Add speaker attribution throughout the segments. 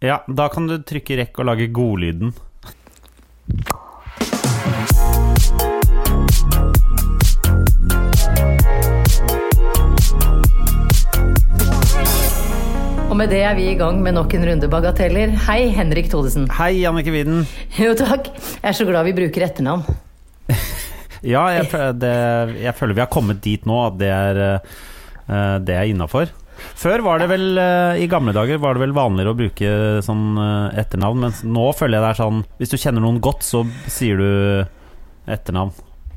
Speaker 1: Ja, da kan du trykke rekk og lage godlyden.
Speaker 2: Og med det er vi i gang med nok en runde bagateller. Hei, Henrik Thodesen.
Speaker 1: Hei, Jannicke Widen.
Speaker 2: Jo takk. Jeg er så glad vi bruker etternavn.
Speaker 1: Ja, jeg, føl- det, jeg føler vi har kommet dit nå at det er, eh, det er innafor. Før var det vel, eh, i gamle dager, var det vel vanligere å bruke sånn eh, etternavn, mens nå føler jeg det er sånn Hvis du kjenner noen godt, så sier du etternavn.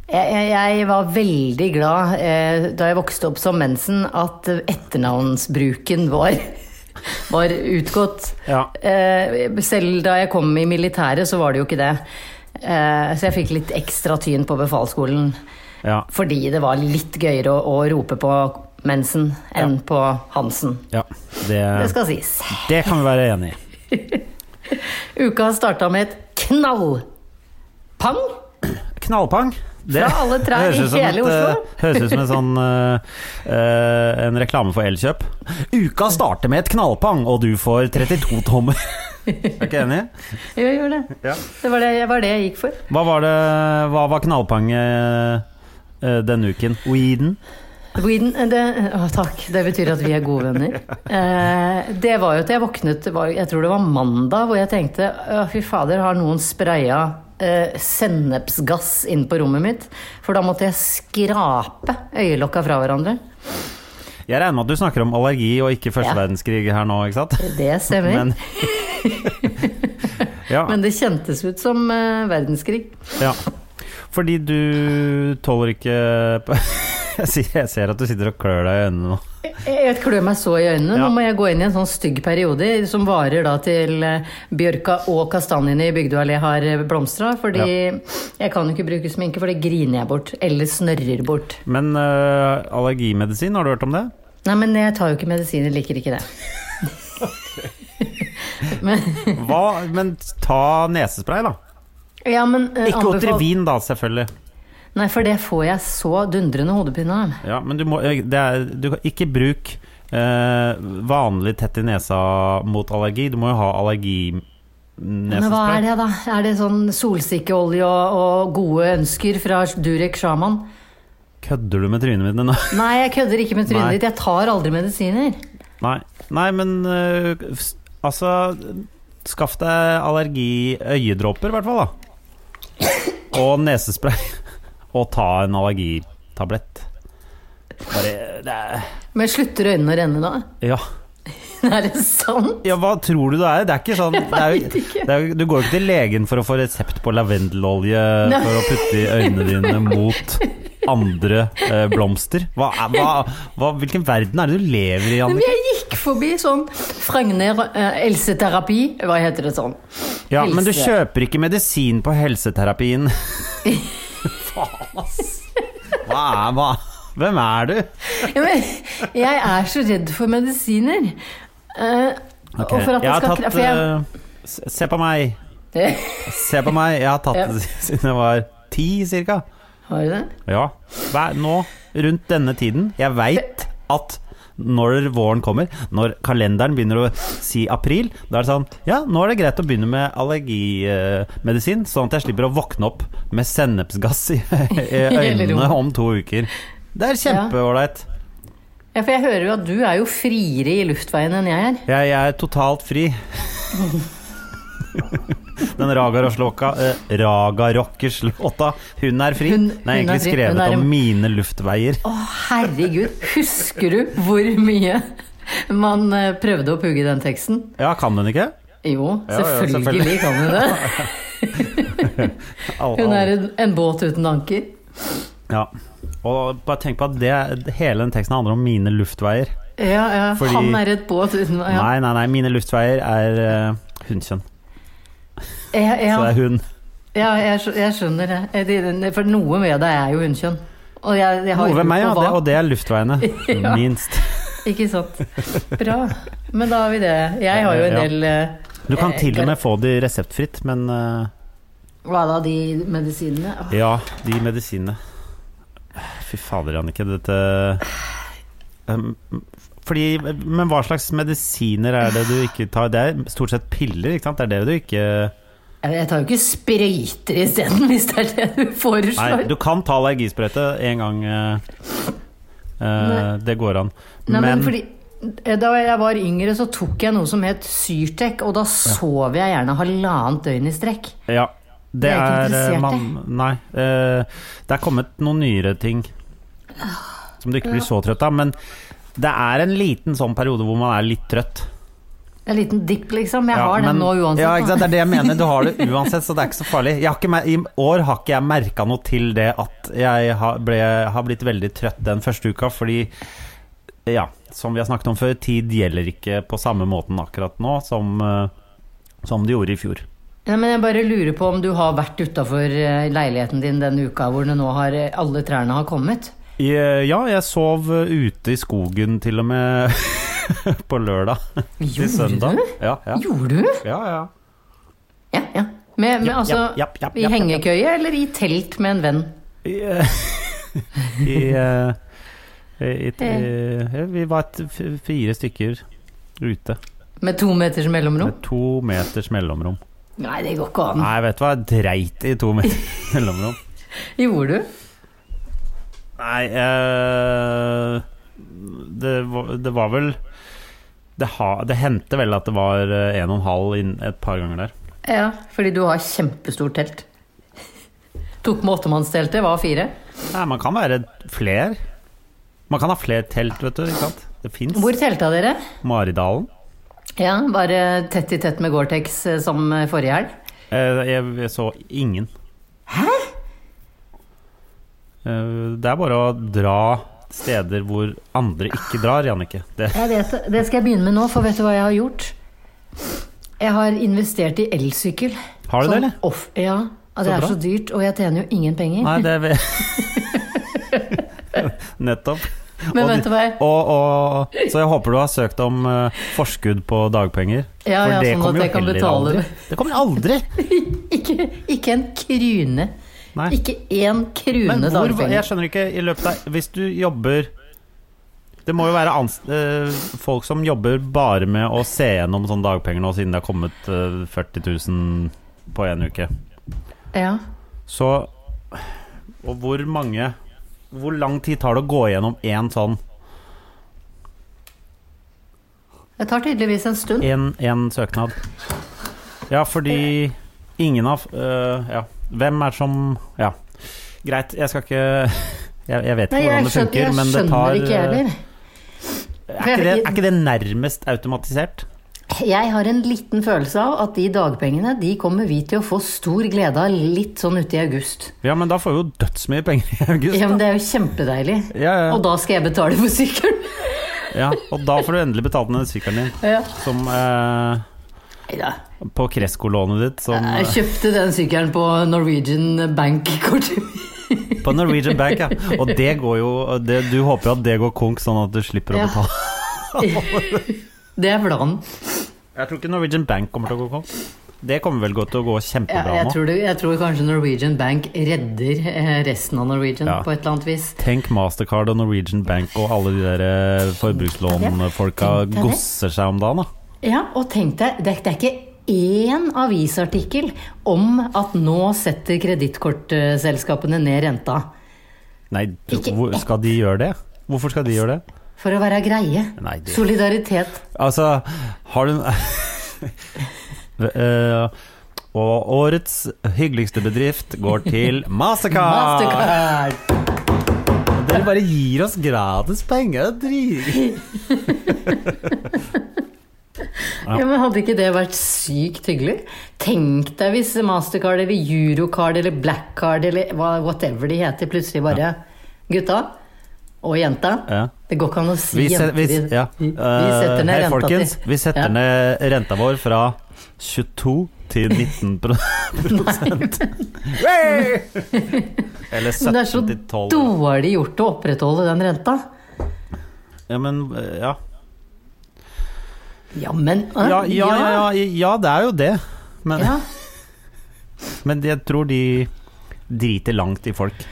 Speaker 2: Jeg, jeg, jeg var veldig glad eh, da jeg vokste opp som mensen, at etternavnsbruken var, var utgått.
Speaker 1: Ja.
Speaker 2: Eh, selv da jeg kom i militæret, så var det jo ikke det. Eh, så jeg fikk litt ekstra tyn på befalsskolen
Speaker 1: Ja.
Speaker 2: fordi det var litt gøyere å, å rope på mensen enn på Hansen.
Speaker 1: ja det,
Speaker 2: Det skal sies.
Speaker 1: det kan vi være enig i.
Speaker 2: Uka har starta med et knallpang.
Speaker 1: Knallpang. Det
Speaker 2: Fra alle trær i
Speaker 1: høres ut som
Speaker 2: hele
Speaker 1: et,
Speaker 2: Oslo.
Speaker 1: eh, høres ut som en sånn eh, eh, En reklame for Elkjøp. Uka starter med et knallpang, og du får 32 tommer. Er du ikke enig?
Speaker 2: Jo, jeg gjør det. Det var det, jeg- var det jeg gikk for.
Speaker 1: Hva var, det, hva var knallpanget eh, denne uken? Weeden?
Speaker 2: Whedon, eh, det, å, takk, det betyr at vi er gode venner. Eh, det var jo til jeg våknet, det var, jeg tror det var mandag, hvor jeg tenkte «Å, fy fader, har noen spraya eh, sennepsgass inn på rommet mitt? For da måtte jeg skrape øyelokka fra hverandre.
Speaker 1: Jeg regner med at du snakker om allergi og ikke første
Speaker 2: Ja.
Speaker 1: verdenskrig her nå, ikke sant?
Speaker 2: Det stemmer. Men,
Speaker 1: Men ja,
Speaker 2: det kjentes ut som eh, verdenskrig.
Speaker 1: ja. Fordi du tåler ikke jeg ser- Jeg ser at du sitter og klør deg i øynene nå.
Speaker 2: Jeg jeg klør meg så i øynene.
Speaker 1: Ja.
Speaker 2: Nå må jeg gå inn i en sånn stygg periode som varer da til eh, bjørka og kastanjene i Bygdøy allé har blomstra. Fordi jeg kan jo ikke bruke sminke, for det griner jeg bort. Eller snørrer bort.
Speaker 1: Men eh, allergimedisin, har du hørt om det?
Speaker 2: Nei, men jeg tar jo ikke medisiner, liker ikke det. men,
Speaker 1: Hva? Men ta nesespray, da.
Speaker 2: ja, men eh,
Speaker 1: Ikke
Speaker 2: anbefal-
Speaker 1: Otrivin, da, selvfølgelig.
Speaker 2: Nei, for det får jeg så dundrende hodepine av.
Speaker 1: Ja, men du må eh, det er, du, kan- Ikke bruk eh, vanlig tett i nesa mot allergi. mm, Du må jo ha
Speaker 2: Men hva er
Speaker 1: allerginesespray.
Speaker 2: det, da? Er det sånn solsikkeolje og, og gode ønsker fra Durek Shaman?
Speaker 1: Kødder du med trynet mitt nå?
Speaker 2: Nei, jeg kødder ikke med
Speaker 1: Nei.
Speaker 2: trynet ditt. Jeg tar aldri medisiner.
Speaker 1: Nei. Nei, men eh, s- altså Skaff deg allergi-øyedråper, i hvert fall, da. Og nesespray. Og ta en allergitablett. Bare det er,
Speaker 2: Men slutter øynene å renne da?
Speaker 1: Ja.
Speaker 2: Er det sant?
Speaker 1: Ja, hva tror du det er? Det er ikke sånn det er jo,
Speaker 2: vet ikke.
Speaker 1: det er, jo- Du går jo ikke til legen for å få resept på lavendelolje for å putte i øynene dine mot andre eh, blomster. Hva, er- hva, hva, hvilken verden er det du lever i,
Speaker 2: Men
Speaker 1: Jannicke?
Speaker 2: jeg gikk forbi sånn Frogner eh, helseterapi, hva heter det sånn?
Speaker 1: Ja, men du
Speaker 2: helse.
Speaker 1: kjøper ikke medisin på helseterapien. Faen, ass. Hva er hva? Hvem er du?
Speaker 2: Ja, men jeg er så redd for medisiner. Eh,
Speaker 1: Ok,
Speaker 2: Og for at
Speaker 1: jeg
Speaker 2: jeg
Speaker 1: har
Speaker 2: skal
Speaker 1: tatt
Speaker 2: kra- for jeg-
Speaker 1: eh, s- Se på meg.
Speaker 2: det-
Speaker 1: Se på meg. Jeg har tatt
Speaker 2: Ja.
Speaker 1: det siden jeg var ti, cirka.
Speaker 2: Har du det?
Speaker 1: Ja. Hver, nå, rundt denne tiden Jeg veit at når våren kommer, når kalenderen begynner å si april, da er det sånn Ja, nå er det greit å begynne med allergimedisin, sånn at jeg slipper å våkne opp med sennepsgass i, i øynene om to uker. Det er kjempeålreit.
Speaker 2: Ja, for jeg hører jo at du er jo friere i luftveien enn jeg er.
Speaker 1: Jeg, jeg er totalt fri. Den Ragarokkerslåka eh, Ragarokkerslåta Hun er fri.
Speaker 2: Hun-
Speaker 1: Den er
Speaker 2: hun er
Speaker 1: egentlig
Speaker 2: fri. Hun
Speaker 1: skrevet
Speaker 2: er-
Speaker 1: om mine luftveier.
Speaker 2: Å, herregud. Husker du hvor mye man eh, prøvde å pugge den teksten?
Speaker 1: Ja, kan den ikke?
Speaker 2: Jo,
Speaker 1: Ja, ja,
Speaker 2: selvfølgelig kan du det.
Speaker 1: Alle-
Speaker 2: Hun
Speaker 1: alle-
Speaker 2: er en, en båt uten anker.
Speaker 1: Ja. Og bare tenk på at det, hele den teksten handler om mine luftveier.
Speaker 2: Ja, ja.
Speaker 1: Fordi-
Speaker 2: Han er et båt uten ja.
Speaker 1: Nei, nei, nei, mine luftveier er eh, hunnkjønn.
Speaker 2: Ja, ja.
Speaker 1: Så det er hun.
Speaker 2: Ja, jeg, skj- jeg skjønner det. Eh, det- det- For noe med deg er jo hunnkjønn. Og jeg, jeg har
Speaker 1: Noe ved meg, ja.
Speaker 2: og hva?
Speaker 1: Det, og det er luftveiene.
Speaker 2: Ja.
Speaker 1: Minst.
Speaker 2: Ikke sant. Bra. Men da har vi det. Jeg har jo en
Speaker 1: Ja.
Speaker 2: del eh,
Speaker 1: Du kan
Speaker 2: Eh,
Speaker 1: til og
Speaker 2: gar-
Speaker 1: med få de reseptfritt, men eh,
Speaker 2: Hva da, de medisinene? Ah, Åh,
Speaker 1: ja, de medisinene Fy fader, Jannicke, dette Em, fordi, Men hva slags medisiner er det du ikke tar? Det er stort sett piller, ikke sant? Det er det du ikke
Speaker 2: Jeg tar jo ikke sprøyter isteden, hvis det er det du foreslår.
Speaker 1: Nei, du kan ta allergisprøyte en gang. eh, eh, det går an.
Speaker 2: Nei, men,
Speaker 1: men
Speaker 2: fordi eh, da jeg var yngre, så tok jeg noe som het Syrtec, og da sov jeg gjerne halvannet døgn i strekk.
Speaker 1: Ja. Det
Speaker 2: Jeg er
Speaker 1: er,
Speaker 2: ikke interessert,
Speaker 1: eh, man, Nei. eh, det er kommet noen nyere ting som du ikke blir så trøtt av. Men det er en liten sånn periode hvor man er litt trøtt.
Speaker 2: En liten dipp, liksom. Jeg
Speaker 1: Ja,
Speaker 2: har den
Speaker 1: men-
Speaker 2: nå uansett.
Speaker 1: Ja, ikke sant?
Speaker 2: da.
Speaker 1: Det er det jeg mener. Du har det uansett, så det er ikke så farlig. Jeg har ikke, mer- I år har ikke jeg merka noe til det at jeg har, ble, har blitt veldig trøtt den første uka, fordi Ja, som vi har snakket om før, tid gjelder ikke på samme måten akkurat nå som, eh, som det gjorde i fjor.
Speaker 2: Nei, men jeg bare lurer på om du har vært utafor eh, leiligheten din den uka hvor det nå har, eh, alle trærne har kommet?
Speaker 1: Jeg- Ja, jeg sov eh, ute i skogen til og med på lørdag. Til
Speaker 2: Gjorde
Speaker 1: søndag.
Speaker 2: du?
Speaker 1: Ja, ja.
Speaker 2: Gjorde du?
Speaker 1: ja, ja.
Speaker 2: Ja, ja. Med, med,
Speaker 1: Ja,
Speaker 2: altså,
Speaker 1: ja, ja, ja,
Speaker 2: I
Speaker 1: ja, ja.
Speaker 2: hengekøye eller i telt med en venn?
Speaker 1: I, eh, i, eh, i, i, i, vi var et, f- fire stykker ute
Speaker 2: Med to meters mellomrom?
Speaker 1: med to meters mellomrom.
Speaker 2: Nei, det går ikke an.
Speaker 1: Nei, vet du hva, jeg dreit i to meters mellomrom.
Speaker 2: Gjorde du?
Speaker 1: Nei eh, det, var- det var vel det, ha, det hendte vel at det var eh, en og en halv inn et par ganger der.
Speaker 2: Ja, fordi du har kjempestort telt. Tok med åttemannsteltet, var fire.
Speaker 1: Nei, man kan være fler. Man kan ha flere telt, vet du. ikke sant? Det fins.
Speaker 2: Hvor telta dere?
Speaker 1: Maridalen.
Speaker 2: Ja, bare tett i tett med Gore-Tex eh, som eh, forrige helg.
Speaker 1: Eh, jeg, jeg så ingen. Hæ? Eh, det er bare å dra steder hvor andre ikke drar, Jannicke. Det,
Speaker 2: Jeg vet, det. det skal jeg begynne med nå, for vet du hva jeg har gjort? Jeg har investert i elsykkel.
Speaker 1: har du det,
Speaker 2: Sånn
Speaker 1: eller?
Speaker 2: Off, ja. Ja,
Speaker 1: Så
Speaker 2: det er
Speaker 1: bra.
Speaker 2: så dyrt, og jeg tjener jo ingen penger.
Speaker 1: Nei, det er Nettopp.
Speaker 2: Men
Speaker 1: og
Speaker 2: vet du hva jeg
Speaker 1: Og, og, så jeg håper du har søkt om eh, forskudd på dagpenger.
Speaker 2: Ja, ja, sånn at
Speaker 1: kommer jo
Speaker 2: jeg kan
Speaker 1: heller
Speaker 2: betale
Speaker 1: aldri.
Speaker 2: det.
Speaker 1: Det kommer aldri!
Speaker 2: ikke, ikke en krone.
Speaker 1: Nei.
Speaker 2: Ikke én krone
Speaker 1: Men hvor,
Speaker 2: dagpenger.
Speaker 1: jeg skjønner ikke i løpet av Hvis du jobber Det må jo være ans eh, folk som jobber bare med å se gjennom sånne dagpenger nå, siden det har kommet eh, 40 000 på én uke.
Speaker 2: Ja.
Speaker 1: Så Og hvor mange Hvor lang tid tar det å gå gjennom én sånn
Speaker 2: Det tar tydeligvis en stund.
Speaker 1: En, en søknad? Ja, fordi ingen av eh, Ja. Hvem er som Ja. Greit, jeg skal ikke Jeg, jeg vet ikke hvordan
Speaker 2: Nei, jeg
Speaker 1: det
Speaker 2: skjønner,
Speaker 1: funker,
Speaker 2: jeg
Speaker 1: men det
Speaker 2: skjønner
Speaker 1: tar
Speaker 2: ikke jeg
Speaker 1: eh,
Speaker 2: heller.
Speaker 1: Er ikke, det, er ikke det nærmest automatisert?
Speaker 2: Jeg har en liten følelse av at de dagpengene de kommer vi til å få stor glede av litt sånn ute i august.
Speaker 1: Ja, men da får vi jo dødsmye penger i august.
Speaker 2: Ja, men Det er jo kjempedeilig.
Speaker 1: Ja, ja.
Speaker 2: Og da skal jeg betale for sykkelen!
Speaker 1: ja, og da får du endelig betalt ned sykkelen din.
Speaker 2: Ja.
Speaker 1: Som eh,
Speaker 2: Neida.
Speaker 1: På Kresco-lånet ditt. Som, eh,
Speaker 2: Jeg kjøpte den sykkelen på Norwegian Bank-kortet mitt.
Speaker 1: eh, på Norwegian Bank, ja. Og det går jo det, Du håper jo at det går konk, sånn at du slipper
Speaker 2: Ja.
Speaker 1: å betale.
Speaker 2: Det er planen.
Speaker 1: Jeg tror ikke Norwegian Bank kommer til å gå konk. Det kommer vel gå til å gå
Speaker 2: Ja,
Speaker 1: kjempebra
Speaker 2: jeg,
Speaker 1: nå.
Speaker 2: tror det, jeg tror kanskje Norwegian Bank redder eh, resten av Norwegian
Speaker 1: Ja.
Speaker 2: på et eller annet vis.
Speaker 1: Tenk Mastercard og Norwegian Bank og alle de der eh, forbrukslånfolka
Speaker 2: Tenk deg det.
Speaker 1: gosser seg om dagen, da.
Speaker 2: Ja, og tenk deg, det er, det er ikke én avisartikkel om at nå setter kredittkortselskapene ned renta.
Speaker 1: Nei, du,
Speaker 2: Ikke
Speaker 1: hvor, skal de gjøre det? Hvorfor skal de gjøre det?
Speaker 2: For å være greie.
Speaker 1: Nei, det-
Speaker 2: Solidaritet.
Speaker 1: Altså, har du Eh, Og årets hyggeligste bedrift går til Mastercard!
Speaker 2: Mastercard.
Speaker 1: Dere bare gir oss gratis penger. det er drit-
Speaker 2: Ja. men Hadde ikke det vært sykt hyggelig? Tenk deg hvis Mastercard eller Eurocard eller Blackcard eller hva- whatever de heter, plutselig bare Gutta, og jenta.
Speaker 1: Ja.
Speaker 2: Det går ikke an å si
Speaker 1: Vi, se,
Speaker 2: jenter.
Speaker 1: vi,
Speaker 2: i-
Speaker 1: ja.
Speaker 2: vi, vi setter
Speaker 1: Eh,
Speaker 2: ned
Speaker 1: hei,
Speaker 2: renta
Speaker 1: folkens,
Speaker 2: til
Speaker 1: Vi setter
Speaker 2: Ja.
Speaker 1: ned renta vår fra 22 til 19 pro- prosent. Eller
Speaker 2: Men
Speaker 1: 17
Speaker 2: det er så
Speaker 1: til 12.
Speaker 2: dårlig gjort å opprettholde den renta.
Speaker 1: Ja, men eh, ja.
Speaker 2: Ja, men eh,
Speaker 1: Ja, ja, ja, ja, ja, det er jo det. Men,
Speaker 2: ja.
Speaker 1: men jeg tror de driter langt i folk.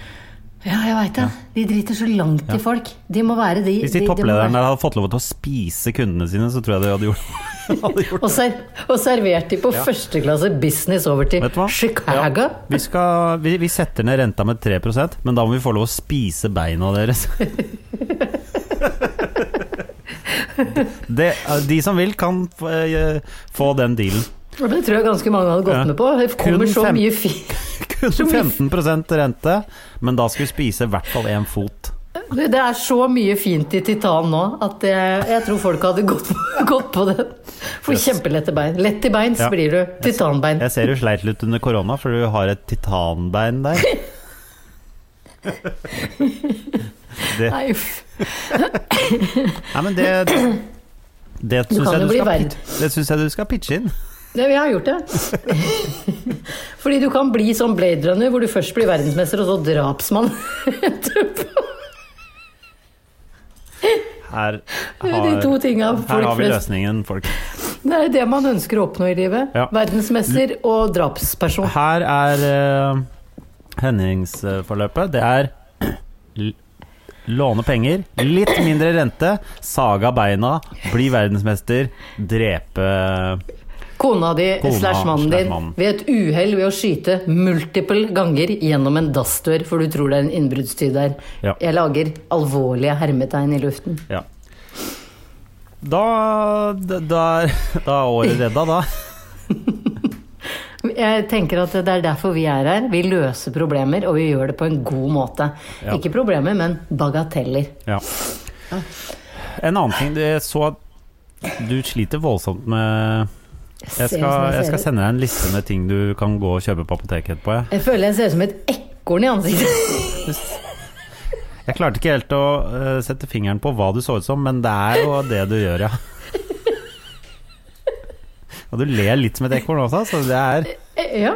Speaker 2: Ja, jeg veit det. De driter så langt i folk. De må være de,
Speaker 1: Hvis de
Speaker 2: de- de må være-
Speaker 1: topplederne hadde fått lov til å spise kundene sine, så tror jeg de hadde gjort, hadde gjort
Speaker 2: Og, ser, og servert de på førsteklasse business over til
Speaker 1: Vet du hva?
Speaker 2: Chicago.
Speaker 1: Vi, skal, vi, vi setter ned renta med 3 men da må vi få lov å spise beina deres. Det, de som vil, kan få, eh, få den dealen.
Speaker 2: Og Det tror jeg ganske mange hadde gått
Speaker 1: Ja.
Speaker 2: med på. Det kommer
Speaker 1: Kun
Speaker 2: så
Speaker 1: fem-
Speaker 2: mye fint.
Speaker 1: Kun 15 rente, men da skal vi spise i hvert fall én fot.
Speaker 2: Det er så mye fint i titan nå at jeg, jeg tror folk hadde gått, gått på det. For
Speaker 1: Yes.
Speaker 2: kjempelette bein. Lett i beins
Speaker 1: Ja.
Speaker 2: blir du. Titanbein.
Speaker 1: Jeg ser du sleit litt under korona, for du har et titanbein der. Det,
Speaker 2: Nei, uff.
Speaker 1: nei, men det Det
Speaker 2: Du
Speaker 1: syns jeg,
Speaker 2: kan jo
Speaker 1: du
Speaker 2: bli
Speaker 1: skal
Speaker 2: verre.
Speaker 1: pitch- det syns jeg du skal pitche inn.
Speaker 2: Det, jeg har gjort det. Fordi du kan bli sånn Blade Runner, hvor du først blir verdensmester, og så drapsmann etterpå.
Speaker 1: Her
Speaker 2: Det er de to
Speaker 1: har,
Speaker 2: tinga
Speaker 1: her
Speaker 2: folk
Speaker 1: har vi
Speaker 2: flest
Speaker 1: løsningen, folk.
Speaker 2: Det er det man ønsker å oppnå i livet.
Speaker 1: Ja.
Speaker 2: Verdensmester og drapsperson.
Speaker 1: Her er eh, Henningsforløpet. Det er l- låne penger, litt mindre rente, saga beina, bli verdensmester, drepe
Speaker 2: Kona di
Speaker 1: Kona
Speaker 2: slash mannen
Speaker 1: slash
Speaker 2: din
Speaker 1: mannen.
Speaker 2: ved et uhell ved å skyte multiple ganger gjennom en dassdør, for du tror det er en innbruddstyv der.
Speaker 1: Ja.
Speaker 2: Jeg lager alvorlige hermetegn i luften.
Speaker 1: Ja. Da, da, da er året redda, da.
Speaker 2: Jeg tenker at det er derfor vi er her. Vi løser problemer, og vi gjør det på en god måte.
Speaker 1: Ja.
Speaker 2: Ikke problemer, men bagateller.
Speaker 1: Ja.
Speaker 2: Ah.
Speaker 1: En annen ting Jeg så at du sliter voldsomt med Jeg
Speaker 2: ser ut som
Speaker 1: skal, jeg skal
Speaker 2: ser ut.
Speaker 1: sende deg en liste med ting du kan gå og kjøpe på apoteket etterpå. Jeg.
Speaker 2: jeg føler jeg ser ut som et ekorn i ansiktet.
Speaker 1: Jeg klarte ikke helt å eh, sette fingeren på hva du så ut som, men det er jo det du gjør, ja. Og du ler litt som et ekorn også, så det er
Speaker 2: Ja.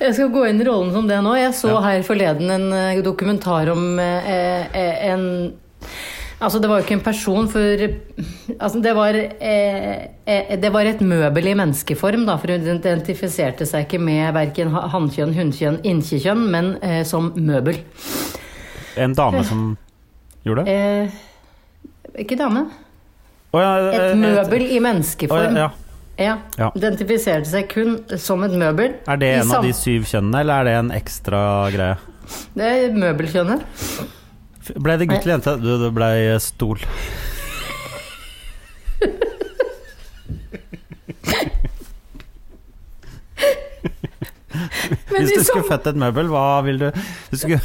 Speaker 2: Jeg skal gå inn i rollen som det nå. Jeg så
Speaker 1: Ja.
Speaker 2: her forleden en eh, dokumentar om eh, eh, en Altså, det var jo ikke en person, for altså, det, var, eh, eh, det var et møbel i menneskeform, da, for hun identifiserte seg ikke med verken ha- hannkjønn, hunnkjønn, innkjekjønn, men eh, som møbel.
Speaker 1: en dame som gjorde det.
Speaker 2: Eh, ikke dame.
Speaker 1: Å, ja, eh,
Speaker 2: Et møbel i
Speaker 1: Å,
Speaker 2: menneskeform.
Speaker 1: ja, ja.
Speaker 2: Ja.
Speaker 1: Ja.
Speaker 2: Identifiserte seg kun som et møbel.
Speaker 1: Er det
Speaker 2: I
Speaker 1: en av de
Speaker 2: sam-
Speaker 1: syv kjønnene, eller er det en ekstra greie?
Speaker 2: Det er møbelkjønnet.
Speaker 1: F- Ble det gutt eller jente? Du, det ble eh, stol.
Speaker 2: Men
Speaker 1: Hvis
Speaker 2: i
Speaker 1: du skulle
Speaker 2: sam-
Speaker 1: født et møbel, hva vil du Hvis du,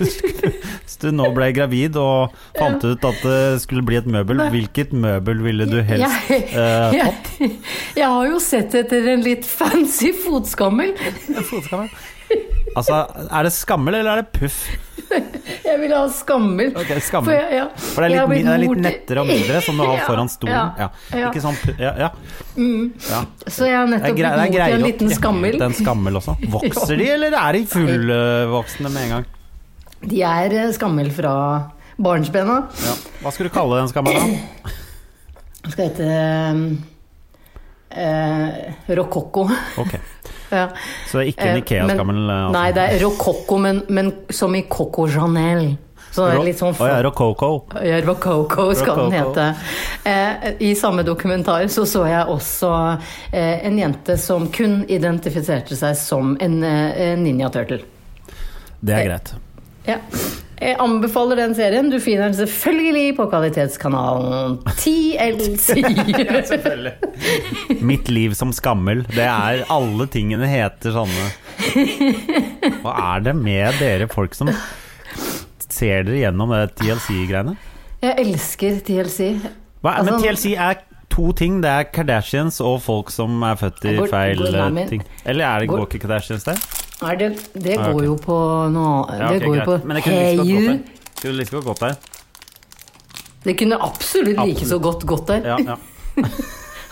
Speaker 1: skulle, hvis du nå ble gravid og fant ut at det skulle bli et møbel, hvilket møbel ville du helst
Speaker 2: Jeg-
Speaker 1: eh,
Speaker 2: jeg, jeg har jo sett etter en litt fancy fotskammel.
Speaker 1: Fotskammel. Altså, er det skammel eller er det puff?
Speaker 2: Jeg vil ha skammel.
Speaker 1: Ok,
Speaker 2: For,
Speaker 1: skammel.
Speaker 2: jeg, ja.
Speaker 1: For det er litt, mi-
Speaker 2: Jeg har blitt
Speaker 1: det er litt
Speaker 2: mor til-
Speaker 1: nettere og mindre som du har
Speaker 2: Ja,
Speaker 1: foran stolen. Ja.
Speaker 2: ja, ja.
Speaker 1: Ikke sånn pu- ja, ja. ja.
Speaker 2: Så jeg har
Speaker 1: Det er
Speaker 2: nettopp
Speaker 1: grei- det er
Speaker 2: blitt mor til en
Speaker 1: greier å
Speaker 2: liten
Speaker 1: fjerne
Speaker 2: skammel.
Speaker 1: Den skammel også. Vokser de, eller er de fullvoksne med en gang?
Speaker 2: De er eh, skammel fra barnsbena.
Speaker 1: Ja. Hva skulle du kalle den skammelen? da?
Speaker 2: Den skal hete eh, eh, rokokko.
Speaker 1: Ok,
Speaker 2: Ja.
Speaker 1: Så det er ikke en
Speaker 2: Eh,
Speaker 1: Ikea-skammel?
Speaker 2: men-
Speaker 1: eh, altså.
Speaker 2: Nei, det er rokokko, men, men som i Coco Chanel. Så det er litt sånn
Speaker 1: Å ja, Rococo.
Speaker 2: Ja, Rococo skal den
Speaker 1: Rococo.
Speaker 2: hete. Eh, I samme dokumentar så så jeg også eh, en jente som kun identifiserte seg som en eh, ninja turtle.
Speaker 1: Det
Speaker 2: Eh.
Speaker 1: er greit.
Speaker 2: Ja. Jeg anbefaler den serien. Du finner den selvfølgelig på kvalitetskanalen TLC.
Speaker 1: Mitt liv som skammel. Det er alle tingene heter sånne. Hva er det med dere folk som ser dere gjennom det TLC-greiene?
Speaker 2: Jeg elsker TLC.
Speaker 1: Hva er, men
Speaker 2: Altså-
Speaker 1: TLC er to ting. Det er Kardashians og folk som er født i
Speaker 2: Går-
Speaker 1: feil
Speaker 2: går
Speaker 1: eh,
Speaker 2: navnet-
Speaker 1: ting. Eller er det
Speaker 2: går-
Speaker 1: går ikke Kardashians der?
Speaker 2: Nei, det, det
Speaker 1: Ah,
Speaker 2: går
Speaker 1: ok.
Speaker 2: jo på noe
Speaker 1: Ja,
Speaker 2: Det
Speaker 1: ok,
Speaker 2: går jo
Speaker 1: greit.
Speaker 2: på
Speaker 1: Men det kunne
Speaker 2: Hey
Speaker 1: like godt gått
Speaker 2: You.
Speaker 1: der. Skulle like godt gått der.
Speaker 2: Det kunne absolutt like så godt gått der.
Speaker 1: Ja, ja.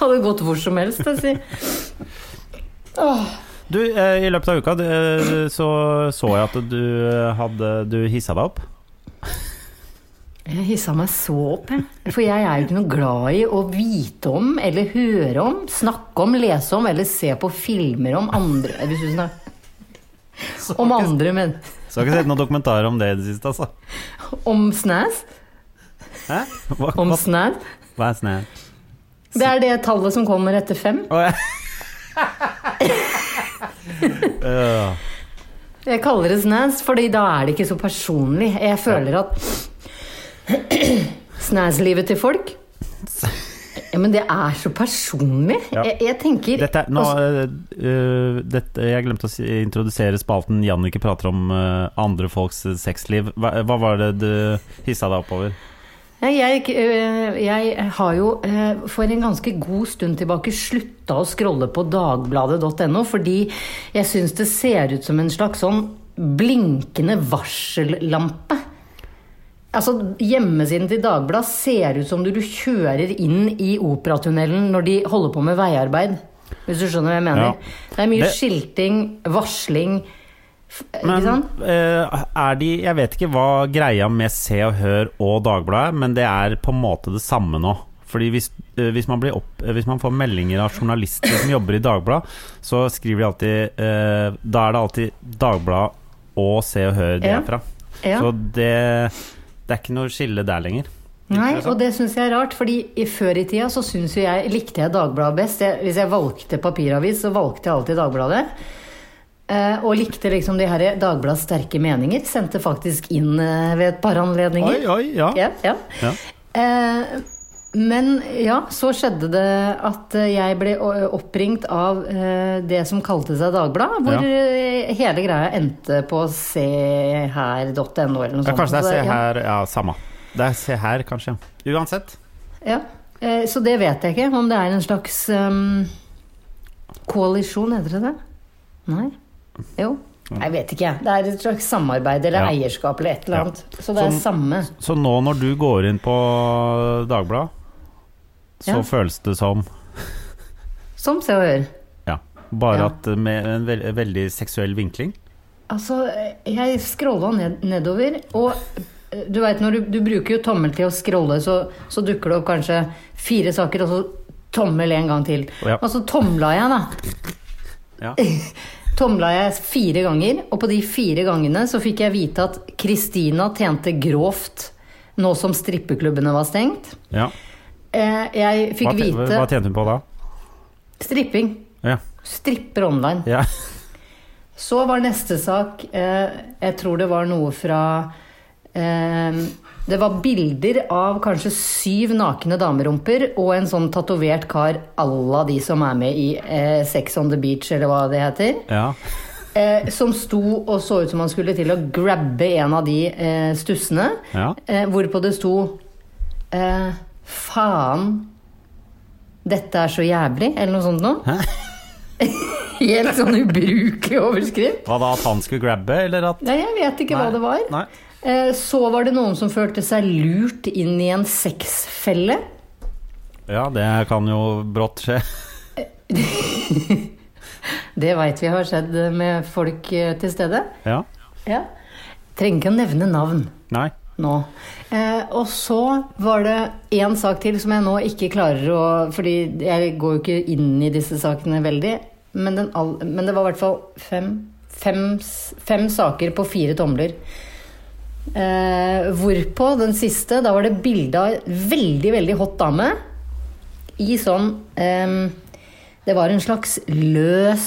Speaker 2: Hadde gått hvor som helst, jeg si. Åh,
Speaker 1: Du, eh, i løpet av uka du, eh, så så jeg at du eh, hadde Du hissa deg opp.
Speaker 2: jeg hissa meg så opp, jeg. For jeg er jo ikke noe glad i å vite om, eller høre om, snakke om, lese om eller se på filmer om andre Hvis du snakker Om andre, men
Speaker 1: Så jeg har ikke sett noen dokumentarer om det i det siste, altså.
Speaker 2: Om snæs?
Speaker 1: Hæ? Hva,
Speaker 2: Om
Speaker 1: hva,
Speaker 2: snæs?
Speaker 1: hva er snø?
Speaker 2: Det er det tallet som kommer etter fem.
Speaker 1: Å, ja. Øh,
Speaker 2: Jeg kaller det snæs, fordi da er det ikke så personlig. Jeg føler at Snæslivet til folk ja, Men det er så personlig.
Speaker 1: Ja.
Speaker 2: Jeg, jeg tenker
Speaker 1: dette er, nå,
Speaker 2: altså,
Speaker 1: eh, øh, dette, jeg glemte å si, introdusere spalten Jannicke prater om eh, andre folks sexliv. Hva, hva var det du hissa deg oppover?
Speaker 2: Nei, jeg, øh, jeg har jo øh, for en ganske god stund tilbake slutta å scrolle på dagbladet.no, fordi jeg syns det ser ut som en slags sånn blinkende varsellampe. Altså, Hjemmesiden til Dagbladet ser ut som du, du kjører inn i Operatunnelen når de holder på med veiarbeid. Hvis du skjønner hva jeg mener.
Speaker 1: Ja.
Speaker 2: Det er mye
Speaker 1: Det-
Speaker 2: skilting, varsling f- Ikke
Speaker 1: Men
Speaker 2: sant?
Speaker 1: eh, er de Jeg vet ikke hva greia med Se og Hør og Dagbladet er, men det er på en måte det samme nå. Fordi hvis, eh, hvis, man blir opp, eh, hvis man får meldinger av journalister som jobber i Dagbladet, så skriver de alltid eh, Da er det alltid Dagbladet og Se og Hør de
Speaker 2: Ja.
Speaker 1: er fra.
Speaker 2: Ja.
Speaker 1: Så det, det er ikke noe skille der lenger.
Speaker 2: Nei,
Speaker 1: Ikke sant?
Speaker 2: og det syns jeg er rart, fordi i, før i tida så syns jo jeg likte jeg Dagbladet best. Jeg, hvis jeg valgte papiravis, så valgte jeg alltid Dagbladet. Eh, og likte liksom de her Dagbladets sterke meninger. Sendte faktisk inn eh, ved et par anledninger.
Speaker 1: oi, ja.
Speaker 2: Ja, ja.
Speaker 1: Ja.
Speaker 2: Eh, men ja, så skjedde det at eh, jeg ble o- oppringt av eh, det som kalte seg Dagbladet, hvor
Speaker 1: Ja.
Speaker 2: eh, hele greia endte på seher.no eller noe
Speaker 1: Ja,
Speaker 2: sånt.
Speaker 1: kanskje det
Speaker 2: Så
Speaker 1: er
Speaker 2: ja.
Speaker 1: Se her Ja, samme. Det er Se her, kanskje. Uansett.
Speaker 2: Ja, eh, Så det vet jeg ikke, om det er en slags ehm, koalisjon, heter det det? Nei? Jo. Jeg vet ikke, jeg. Det er et slags samarbeid eller
Speaker 1: Ja.
Speaker 2: eierskap eller et eller
Speaker 1: Ja.
Speaker 2: annet. Så det er
Speaker 1: Som-
Speaker 2: samme.
Speaker 1: Så nå når du går inn på Dagbladet, så
Speaker 2: Ja.
Speaker 1: føles det som
Speaker 2: Som Se og Hør.
Speaker 1: Ja. Bare
Speaker 2: Ja.
Speaker 1: at med en vel- veldig seksuell vinkling.
Speaker 2: Altså, eh, jeg scrolla ned, nedover, og eh, du veit når du, du bruker jo tommel til å scrolle, så, så dukker det opp kanskje fire saker, og så tommel en gang til.
Speaker 1: Ja.
Speaker 2: Og så tomla jeg, da.
Speaker 1: Ja.
Speaker 2: Tomla jeg fire ganger, og på de fire gangene så fikk jeg vite at Kristina tjente grovt nå som strippeklubbene var stengt.
Speaker 1: ja.
Speaker 2: Eh, Jeg fikk
Speaker 1: Hva, tje-
Speaker 2: vite
Speaker 1: hva tjente hun på da?
Speaker 2: Stripping.
Speaker 1: Ja.
Speaker 2: Stripper online.
Speaker 1: ja.
Speaker 2: Så var neste sak eh, Jeg tror det var noe fra eh, Det var bilder av kanskje syv nakne damerumper og en sånn tatovert kar à la de som er med i eh, Sex on the Beach, eller hva det heter.
Speaker 1: ja.
Speaker 2: Eh, som sto og så ut som han skulle til å grabbe en av de eh, stussene.
Speaker 1: Ja.
Speaker 2: Eh, hvorpå det sto eh, Faen, dette er så jævlig, eller noe sånt noe.
Speaker 1: Hæ?
Speaker 2: Helt sånn ubrukelig overskrift.
Speaker 1: Hva da, at han skulle grabbe, eller at
Speaker 2: Nei, jeg vet ikke hva det var.
Speaker 1: Nei.
Speaker 2: Eh, så var det noen som følte seg lurt inn i en sexfelle.
Speaker 1: Ja, det kan jo brått skje.
Speaker 2: Det veit vi har skjedd med folk eh, til stede.
Speaker 1: Ja.
Speaker 2: Ja. Trenger ikke å nevne navn.
Speaker 1: Nei.
Speaker 2: nå. Eh, og så var det én sak til som jeg nå ikke klarer å Fordi jeg går jo ikke inn i disse sakene veldig. Men, den all, men det var i hvert fall fem, fem, s- fem saker på fire tomler. Eh, hvorpå den siste, da var det bilde av en veldig, veldig hot dame i sånn ehm, Det var en slags løs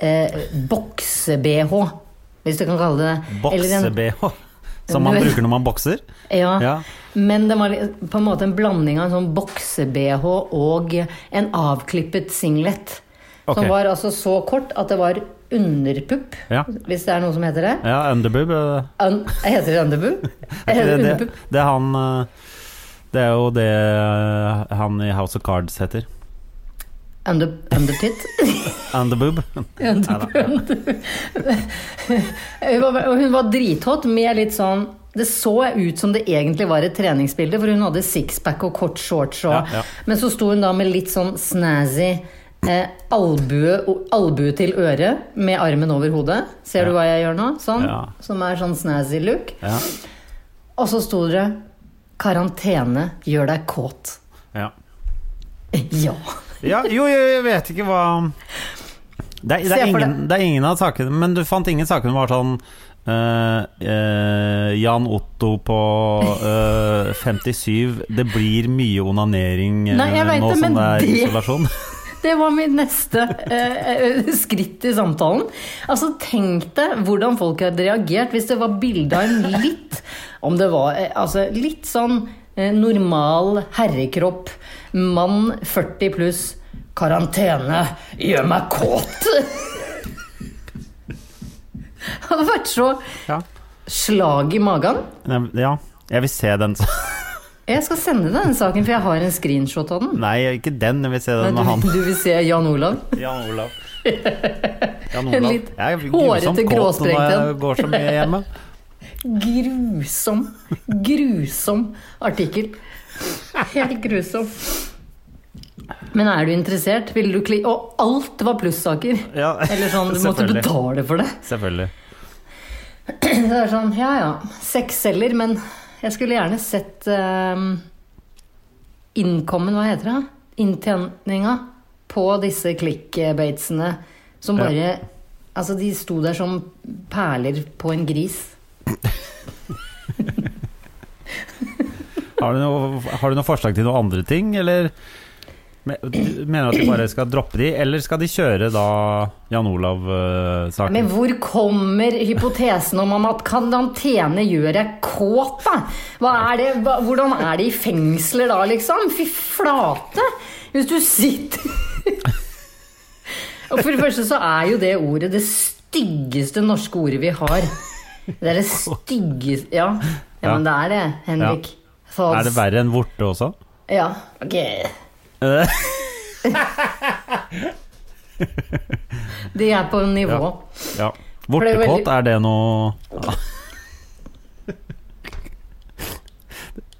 Speaker 2: eh, bokse-BH, hvis du kan kalle det det. Eller Ah. en-
Speaker 1: Bokse-BH. Som man bruker når man bokser.
Speaker 2: ja.
Speaker 1: Ja.
Speaker 2: men det var litt- på en måte en blanding av en sånn bokse-BH og en avklippet singlet.
Speaker 1: Ok.
Speaker 2: Som var altså så kort at det var underpupp,
Speaker 1: Ja.
Speaker 2: hvis det er noe som heter det.
Speaker 1: Ja, underboob. eh,
Speaker 2: Un heter det underpupp?
Speaker 1: Er ikke det, det,
Speaker 2: Underpupp.
Speaker 1: det er han eh, Det er jo det eh, han i House of Cards heter.
Speaker 2: Under undertit?
Speaker 1: Underboob.
Speaker 2: Eh, Underpupp. Hun var- og Hun var drithot med litt sånn Det så ut som det egentlig var et treningsbilde, for hun hadde sixpack og kort shorts. Og,
Speaker 1: Ja, ja.
Speaker 2: Men så sto hun da med litt sånn snazzy eh, albue, og- albue til øret, med armen over hodet. Ser du hva jeg gjør nå? Sånn.
Speaker 1: Ja.
Speaker 2: Som er sånn snazzy look.
Speaker 1: Ja.
Speaker 2: Og så sto det 'Karantene gjør deg kåt'.
Speaker 1: Ja.
Speaker 2: Ja.
Speaker 1: Ja, jo, jo, jeg vet ikke hva det er, det,
Speaker 2: Se
Speaker 1: er
Speaker 2: for
Speaker 1: ingen, det er ingen av sakene Men du fant ingen saker som var sånn eh, eh, Jan Otto på eh, 57 Det blir mye onanering eh,
Speaker 2: Nei, jeg vet
Speaker 1: nå
Speaker 2: det, men
Speaker 1: som det er
Speaker 2: det-
Speaker 1: isolasjon
Speaker 2: Det var mitt neste eh, eh, skritt i samtalen. Altså, tenk deg hvordan folk hadde reagert hvis det var bilde av en litt Om det var eh, altså, litt sånn eh, normal herrekropp, mann 40 pluss, karantene, gjør meg kåt! Det hadde vært så
Speaker 1: ja.
Speaker 2: slag i magen.
Speaker 1: Nei, ja, jeg vil se den
Speaker 2: Jeg skal sende deg den saken, for jeg har en screenshot av den.
Speaker 1: Nei, ikke den, jeg vil se den
Speaker 2: Du,
Speaker 1: med han
Speaker 2: du vil se Jan Olav?
Speaker 1: Jan Olav Jan
Speaker 2: En
Speaker 1: Olav
Speaker 2: litt
Speaker 1: Jeg er grusomt kåt når
Speaker 2: hårete
Speaker 1: jeg
Speaker 2: gråstrekt
Speaker 1: går så mye hjemme
Speaker 2: Grusom, grusom artikkel. Helt grusom. Men er du interessert, ville du kli... Og alt var plussaker.
Speaker 1: ja,
Speaker 2: Eller sånn, du måtte
Speaker 1: selvfølgelig.
Speaker 2: betale for det.
Speaker 1: Selvfølgelig
Speaker 2: Så det er sånn, ja ja, sex selger, men jeg skulle gjerne sett ehm, innkommen, hva heter det? Inntjeninga på disse clickbatesene som
Speaker 1: Ja.
Speaker 2: bare Altså, de sto der som perler på en gris.
Speaker 1: Har du, noe, har du noe forslag til noen andre ting, eller Men- du Mener du at de bare skal droppe de, eller skal de kjøre da Jan eh, Olav-saken?
Speaker 2: Men hvor kommer hypotesen om at karantene gjør deg kåt, da? Hva er det, hva, hvordan er det i fengsler da, liksom? Fy flate! Hvis du sitter Og for det første så er jo det ordet det styggeste norske ordet vi har. Det er det styggeste Ja, ja men det er det, Henrik.
Speaker 1: er det verre enn vorte også?
Speaker 2: Ja, ok.
Speaker 1: Eh,
Speaker 2: De er på nivå.
Speaker 1: Ja. ja.
Speaker 2: det er
Speaker 1: Vortekåt,
Speaker 2: veldig-
Speaker 1: er det noe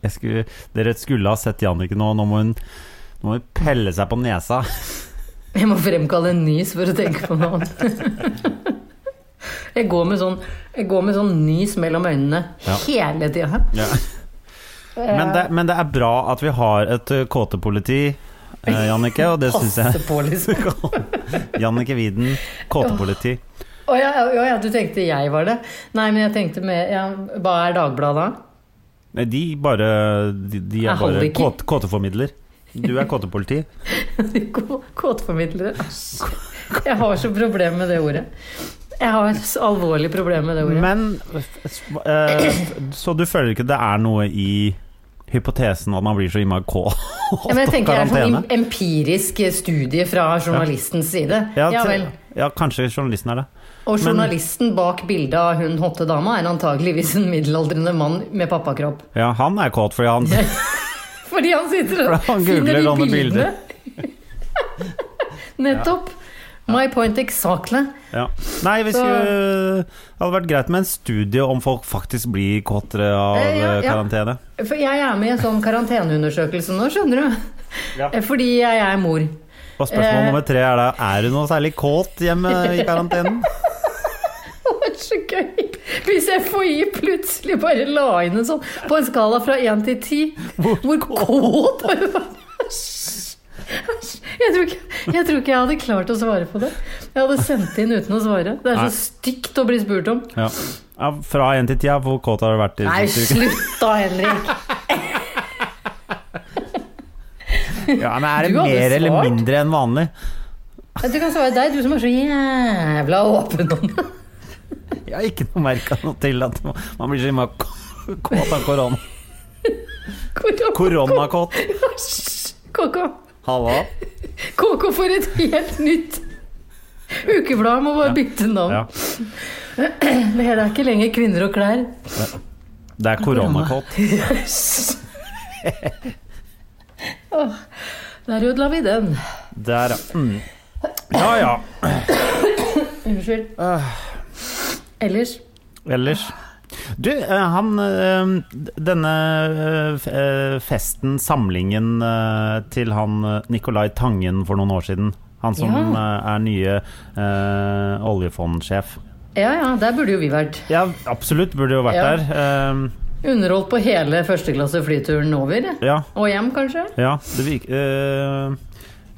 Speaker 1: Jeg skulle, dere skulle ha sett Jannicke nå. Nå må hun, nå må hun pelle seg på nesa.
Speaker 2: Jeg må fremkalle en nys for å tenke på noe annet. Jeg går med sånn, jeg går med sånn nys mellom øynene
Speaker 1: Ja.
Speaker 2: hele tida.
Speaker 1: Men, det, men det er bra at vi har et eh, kåtepoliti, eh, Jannicke, og det syns jeg
Speaker 2: Passe på, liksom.
Speaker 1: Jannicke Widen, kåtepoliti.
Speaker 2: Å ja, å ja, du tenkte jeg var det? Nei, men jeg tenkte mer ja, Hva er Dagbladet da?
Speaker 1: Nei, de bare De, de
Speaker 2: Jeg
Speaker 1: er
Speaker 2: holder
Speaker 1: bare
Speaker 2: ikke.
Speaker 1: kåt, kåteformidler. Du er kåtepoliti.
Speaker 2: Kå- Kåtformidlere. Æsj. Jeg har så problemer med det ordet. Jeg har så alvorlig problemer med det ordet.
Speaker 1: Men eh, Så du føler ikke det er noe i hypotesen at man blir så innmari kåt
Speaker 2: Ja, men jeg
Speaker 1: av
Speaker 2: tenker det er en
Speaker 1: karantene?
Speaker 2: sånn em- empirisk studie fra journalistens side.
Speaker 1: Ja,
Speaker 2: Ja
Speaker 1: te-
Speaker 2: vel.
Speaker 1: ja, kanskje journalisten er det.
Speaker 2: Og journalisten bak bildet av hun hotte dama er antageligvis en middelaldrende mann med pappakropp.
Speaker 1: Ja, han er kåt fordi han
Speaker 2: Fordi han sitter og
Speaker 1: For han
Speaker 2: finner
Speaker 1: googler
Speaker 2: de
Speaker 1: sånne
Speaker 2: bildene.
Speaker 1: bilder.
Speaker 2: Nettopp. My point exactly.
Speaker 1: ja. Nei, vi skulle Det hadde vært greit med en studie om folk faktisk blir kåtere av
Speaker 2: Eh, ja,
Speaker 1: eh,
Speaker 2: ja.
Speaker 1: karantene.
Speaker 2: For jeg er med i en sånn karanteneundersøkelse nå, skjønner du.
Speaker 1: Ja.
Speaker 2: Fordi jeg er mor.
Speaker 1: Og spørsmål
Speaker 2: Eh.
Speaker 1: nummer tre er da Er du noe særlig kåt hjemme i karantenen?
Speaker 2: Det var så gøy hvis FHI plutselig bare la inn en sånn på en skala fra 1 til 10. Hvor, kåt har du vært? Æsj. Jeg tror, ikke, jeg tror ikke jeg hadde klart å svare på det. Jeg hadde sendt inn uten å svare. Det er
Speaker 1: Nei.
Speaker 2: så stygt å bli spurt om.
Speaker 1: Ja. ja fra én til ti, ja, hvor kåt har du vært i
Speaker 2: Nei,
Speaker 1: siste uke?
Speaker 2: slutt da, Henrik.
Speaker 1: Ja, men er det
Speaker 2: Du hadde
Speaker 1: mer eller
Speaker 2: svart.
Speaker 1: mindre enn vanlig?
Speaker 2: Du kan svare deg, du som er så jævla åpen om det.
Speaker 1: Jeg har ikke noe merka noe til at man blir så innmari k- kåt av korona. Koronakåt.
Speaker 2: KK.
Speaker 1: Halla.
Speaker 2: KK får et helt nytt ukeblad. Må bare bytte navn.
Speaker 1: Ja.
Speaker 2: Det er ikke lenger kvinner og klær.
Speaker 1: Det er koronakåt.
Speaker 2: Åh, Der ødela vi den.
Speaker 1: Der, ja. Mm. Ja ja. Ah.
Speaker 2: Unnskyld. Ellers
Speaker 1: Ellers Du, eh, han eh, Denne eh, eh, festen, samlingen eh, til han eh, Nicolai Tangen for noen år siden. Han som eh, er nye eh, oljefondsjef.
Speaker 2: Ja ja, der burde jo vi vært.
Speaker 1: Ja, absolutt burde jo vært
Speaker 2: Ja.
Speaker 1: der. Ehm,
Speaker 2: Underholdt på hele førsteklasse flyturen over.
Speaker 1: Eh, ja,
Speaker 2: Og hjem, kanskje?
Speaker 1: ja det, virker, eh,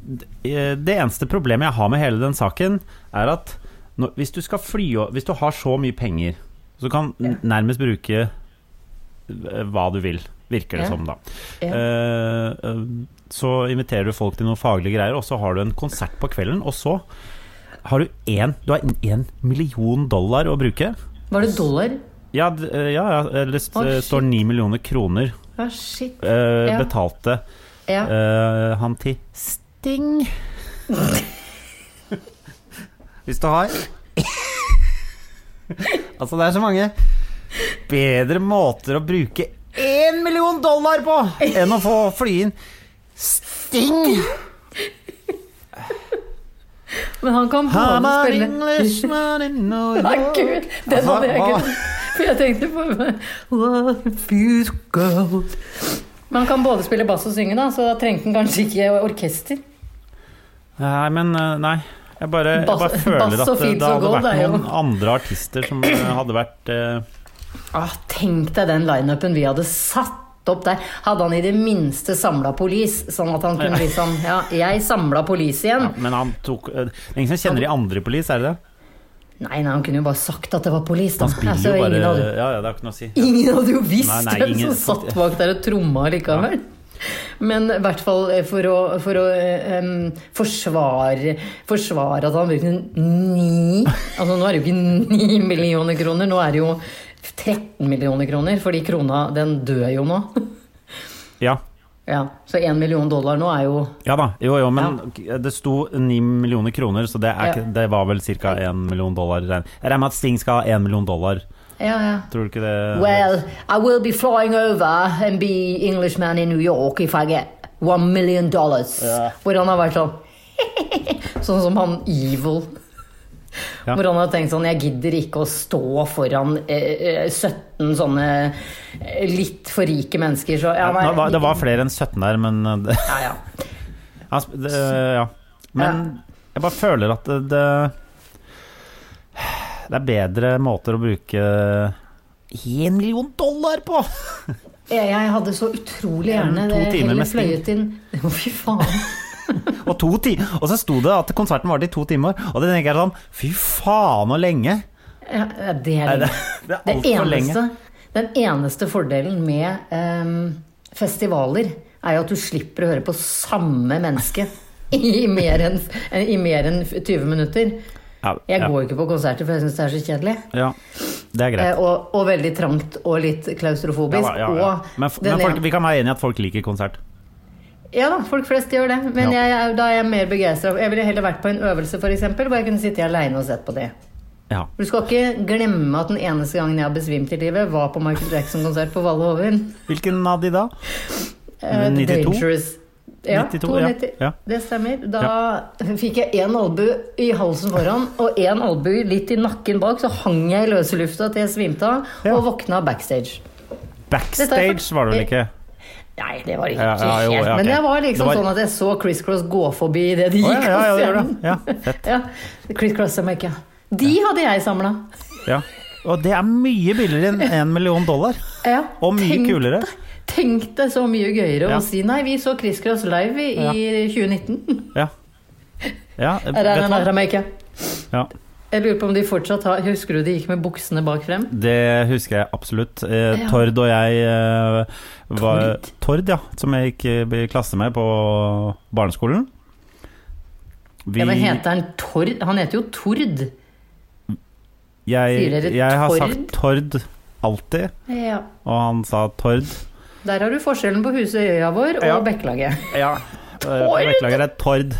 Speaker 1: d- eh, det eneste problemet jeg har med hele den saken, er at når, hvis du skal fly og Hvis du har så mye penger, så du kan n- nærmest bruke eh, hva du vil, virker det
Speaker 2: Ja.
Speaker 1: som, da.
Speaker 2: Ja.
Speaker 1: Eh, eh, så inviterer du folk til noen faglige greier, og så har du en konsert på kvelden, og så har du én Du har én million dollar å bruke.
Speaker 2: Var det dollar?
Speaker 1: Ja, d- eh, ja, ja eh, det st
Speaker 2: Å,
Speaker 1: eh, står ni millioner kroner.
Speaker 2: Ja, Ah, shit.
Speaker 1: eh,
Speaker 2: Ja.
Speaker 1: Betalte
Speaker 2: Ja.
Speaker 1: eh, han til Sting. Hvis du har Altså, det er så mange bedre måter å bruke én million dollar på enn å få fly inn Sting!
Speaker 2: Men han kan
Speaker 1: I'm
Speaker 2: både
Speaker 1: an
Speaker 2: spille
Speaker 1: Englishman in New
Speaker 2: Nei,
Speaker 1: York.
Speaker 2: gud! Den
Speaker 1: Altså,
Speaker 2: hadde jeg
Speaker 1: hva-
Speaker 2: ikke For jeg tenkte på What if you go? Men han kan både spille bass og synge, da, så da trengte han kanskje ikke orkester.
Speaker 1: Nei, men eh, nei. Jeg bare, jeg
Speaker 2: Bass-
Speaker 1: bare føler
Speaker 2: bass
Speaker 1: at
Speaker 2: og
Speaker 1: det,
Speaker 2: fint
Speaker 1: det
Speaker 2: og
Speaker 1: hadde
Speaker 2: gold
Speaker 1: vært
Speaker 2: er jo-
Speaker 1: noen andre artister som eh, hadde vært eh,
Speaker 2: Ah, tenk deg den lineupen vi hadde satt opp der. Hadde han i det minste samla police, sånn at han kunne liksom Ja, jeg samla police igjen.
Speaker 1: ja, Men han tok eh, Det er ingen som kjenner de andre i Police, er det det?
Speaker 2: Nei, nei, han kunne jo bare sagt at det var police, da.
Speaker 1: Han spiller
Speaker 2: Altså,
Speaker 1: jo bare
Speaker 2: ingen,
Speaker 1: Ja,
Speaker 2: hadde,
Speaker 1: ja, det har ikke noe å si.
Speaker 2: ingen hadde jo visst
Speaker 1: Nei, nei,
Speaker 2: hvem
Speaker 1: ingen-
Speaker 2: som satt bak der og tromma likevel. Men i hvert fall eh, for å, for å eh, em, forsvare, forsvare at han brukte ni Altså nå er det jo ikke ni millioner kroner, nå er det jo 13 millioner kroner, fordi krona, den dør jo nå.
Speaker 1: Ja.
Speaker 2: Ja, Så én million dollar nå er jo
Speaker 1: ja da, jo jo, men det sto ni millioner kroner, så det, er
Speaker 2: Ja.
Speaker 1: ikke, det var vel ca. én million dollar. Jeg regner med at Sting skal ha én million dollar,
Speaker 2: Ja, ja.
Speaker 1: tror du ikke det?
Speaker 2: Well, I will be flying over and be Englishman in New York if I get one million dollars.
Speaker 1: Ja.
Speaker 2: Hvor han har vært sånn Sånn som han Evil.
Speaker 1: Ja.
Speaker 2: Hvor han har tenkt sånn Jeg gidder ikke å stå foran eh, eh, 17 sånne eh, litt for rike mennesker, så ja, nei,
Speaker 1: Nå var, det var flere enn 17 der, men eh, det,
Speaker 2: ja, ja.
Speaker 1: Han sp- det, ja. Men jeg bare føler at det, det Det er bedre måter å bruke én million dollar på!
Speaker 2: Jeg, jeg hadde så utrolig gjerne
Speaker 1: To
Speaker 2: det
Speaker 1: timer
Speaker 2: heller
Speaker 1: med sting.
Speaker 2: fløyet inn Å, fy faen.
Speaker 1: Og, to ti og så sto det at konserten varte i to timer. Og det tenker jeg sånn Fy faen, så lenge!
Speaker 2: Ja, ja, det er
Speaker 1: Nei, det,
Speaker 2: lenge.
Speaker 1: det er
Speaker 2: Det
Speaker 1: altfor lenge.
Speaker 2: eneste, den eneste fordelen med ehm, festivaler er jo at du slipper å høre på samme menneske i mer enn eh, i mer enn 20 minutter.
Speaker 1: Ja,
Speaker 2: Jeg
Speaker 1: ja,
Speaker 2: går jo ikke på konserter, for jeg syns det er så kjedelig.
Speaker 1: ja, det er
Speaker 2: Eh,
Speaker 1: greit.
Speaker 2: Og, og veldig trangt og litt
Speaker 1: Ja,
Speaker 2: klaustrofobisk.
Speaker 1: da, ja, ja.
Speaker 2: Eh, Og
Speaker 1: Men, f-
Speaker 2: den
Speaker 1: men folk,
Speaker 2: en-
Speaker 1: vi kan være enige i at folk liker konsert.
Speaker 2: ja da, folk flest gjør det. Men
Speaker 1: Ja.
Speaker 2: jeg, er- da er jeg mer begeistra. Jeg ville heller vært på en øvelse, f.eks., hvor jeg kunne sitte aleine og sett på det.
Speaker 1: Ja.
Speaker 2: Du skal ikke glemme at den eneste gangen jeg har besvimt i livet, var på Michael Jackson-konsert på Valle Hovin.
Speaker 1: Hvilken av de da?
Speaker 2: Eh,
Speaker 1: 92?
Speaker 2: Dangerous. Ja,
Speaker 1: 92, ja.
Speaker 2: 92,
Speaker 1: Ja.
Speaker 2: Det stemmer. Da fikk jeg én albue i halsen foran og én albue litt i nakken bak, så hang jeg i løse lufta til jeg svimte av
Speaker 1: Ja.
Speaker 2: og våkna backstage.
Speaker 1: Backstage var det vel ikke?
Speaker 2: Nei, det var ikke
Speaker 1: Ja, ja, jo,
Speaker 2: helt
Speaker 1: ja, ok.
Speaker 2: Men jeg var liksom
Speaker 1: Det var-
Speaker 2: sånn at jeg så Chris Cross gå forbi idet de
Speaker 1: Å,
Speaker 2: gikk
Speaker 1: ja, ja, ja, det gjør
Speaker 2: av
Speaker 1: det.
Speaker 2: scenen.
Speaker 1: Ja,
Speaker 2: Ja, Chris Cross Jamaica. De hadde jeg samla.
Speaker 1: ja. Og det er mye billigere enn én million dollar.
Speaker 2: Ja,
Speaker 1: Og mye
Speaker 2: tenk
Speaker 1: kulere.
Speaker 2: deg- Tenk deg så mye gøyere
Speaker 1: Ja.
Speaker 2: å si nei, vi så Chris Cross live i, i 2019.
Speaker 1: Ja. ja. eh,
Speaker 2: Er det
Speaker 1: vet du hva?
Speaker 2: Jamaica?
Speaker 1: Ja,
Speaker 2: Jeg lurer på om de fortsatt har Husker du de gikk med buksene bak frem?
Speaker 1: det husker jeg absolutt. Eh,
Speaker 2: Ja.
Speaker 1: Tord og jeg eh, var Tord, ja. Som jeg gikk eh, i klasse med på barneskolen. Vi,
Speaker 2: Ja, men heter han Tord? Han heter jo Tord. sier
Speaker 1: jeg,
Speaker 2: dere
Speaker 1: jeg har
Speaker 2: Tord?
Speaker 1: sagt Tord alltid,
Speaker 2: Ja.
Speaker 1: og han sa Tord.
Speaker 2: Der har du forskjellen på Husøyøya vår og
Speaker 1: Ja.
Speaker 2: Bekkelaget.
Speaker 1: Ja.
Speaker 2: Tord?
Speaker 1: Eh, Beklager, det er Tord.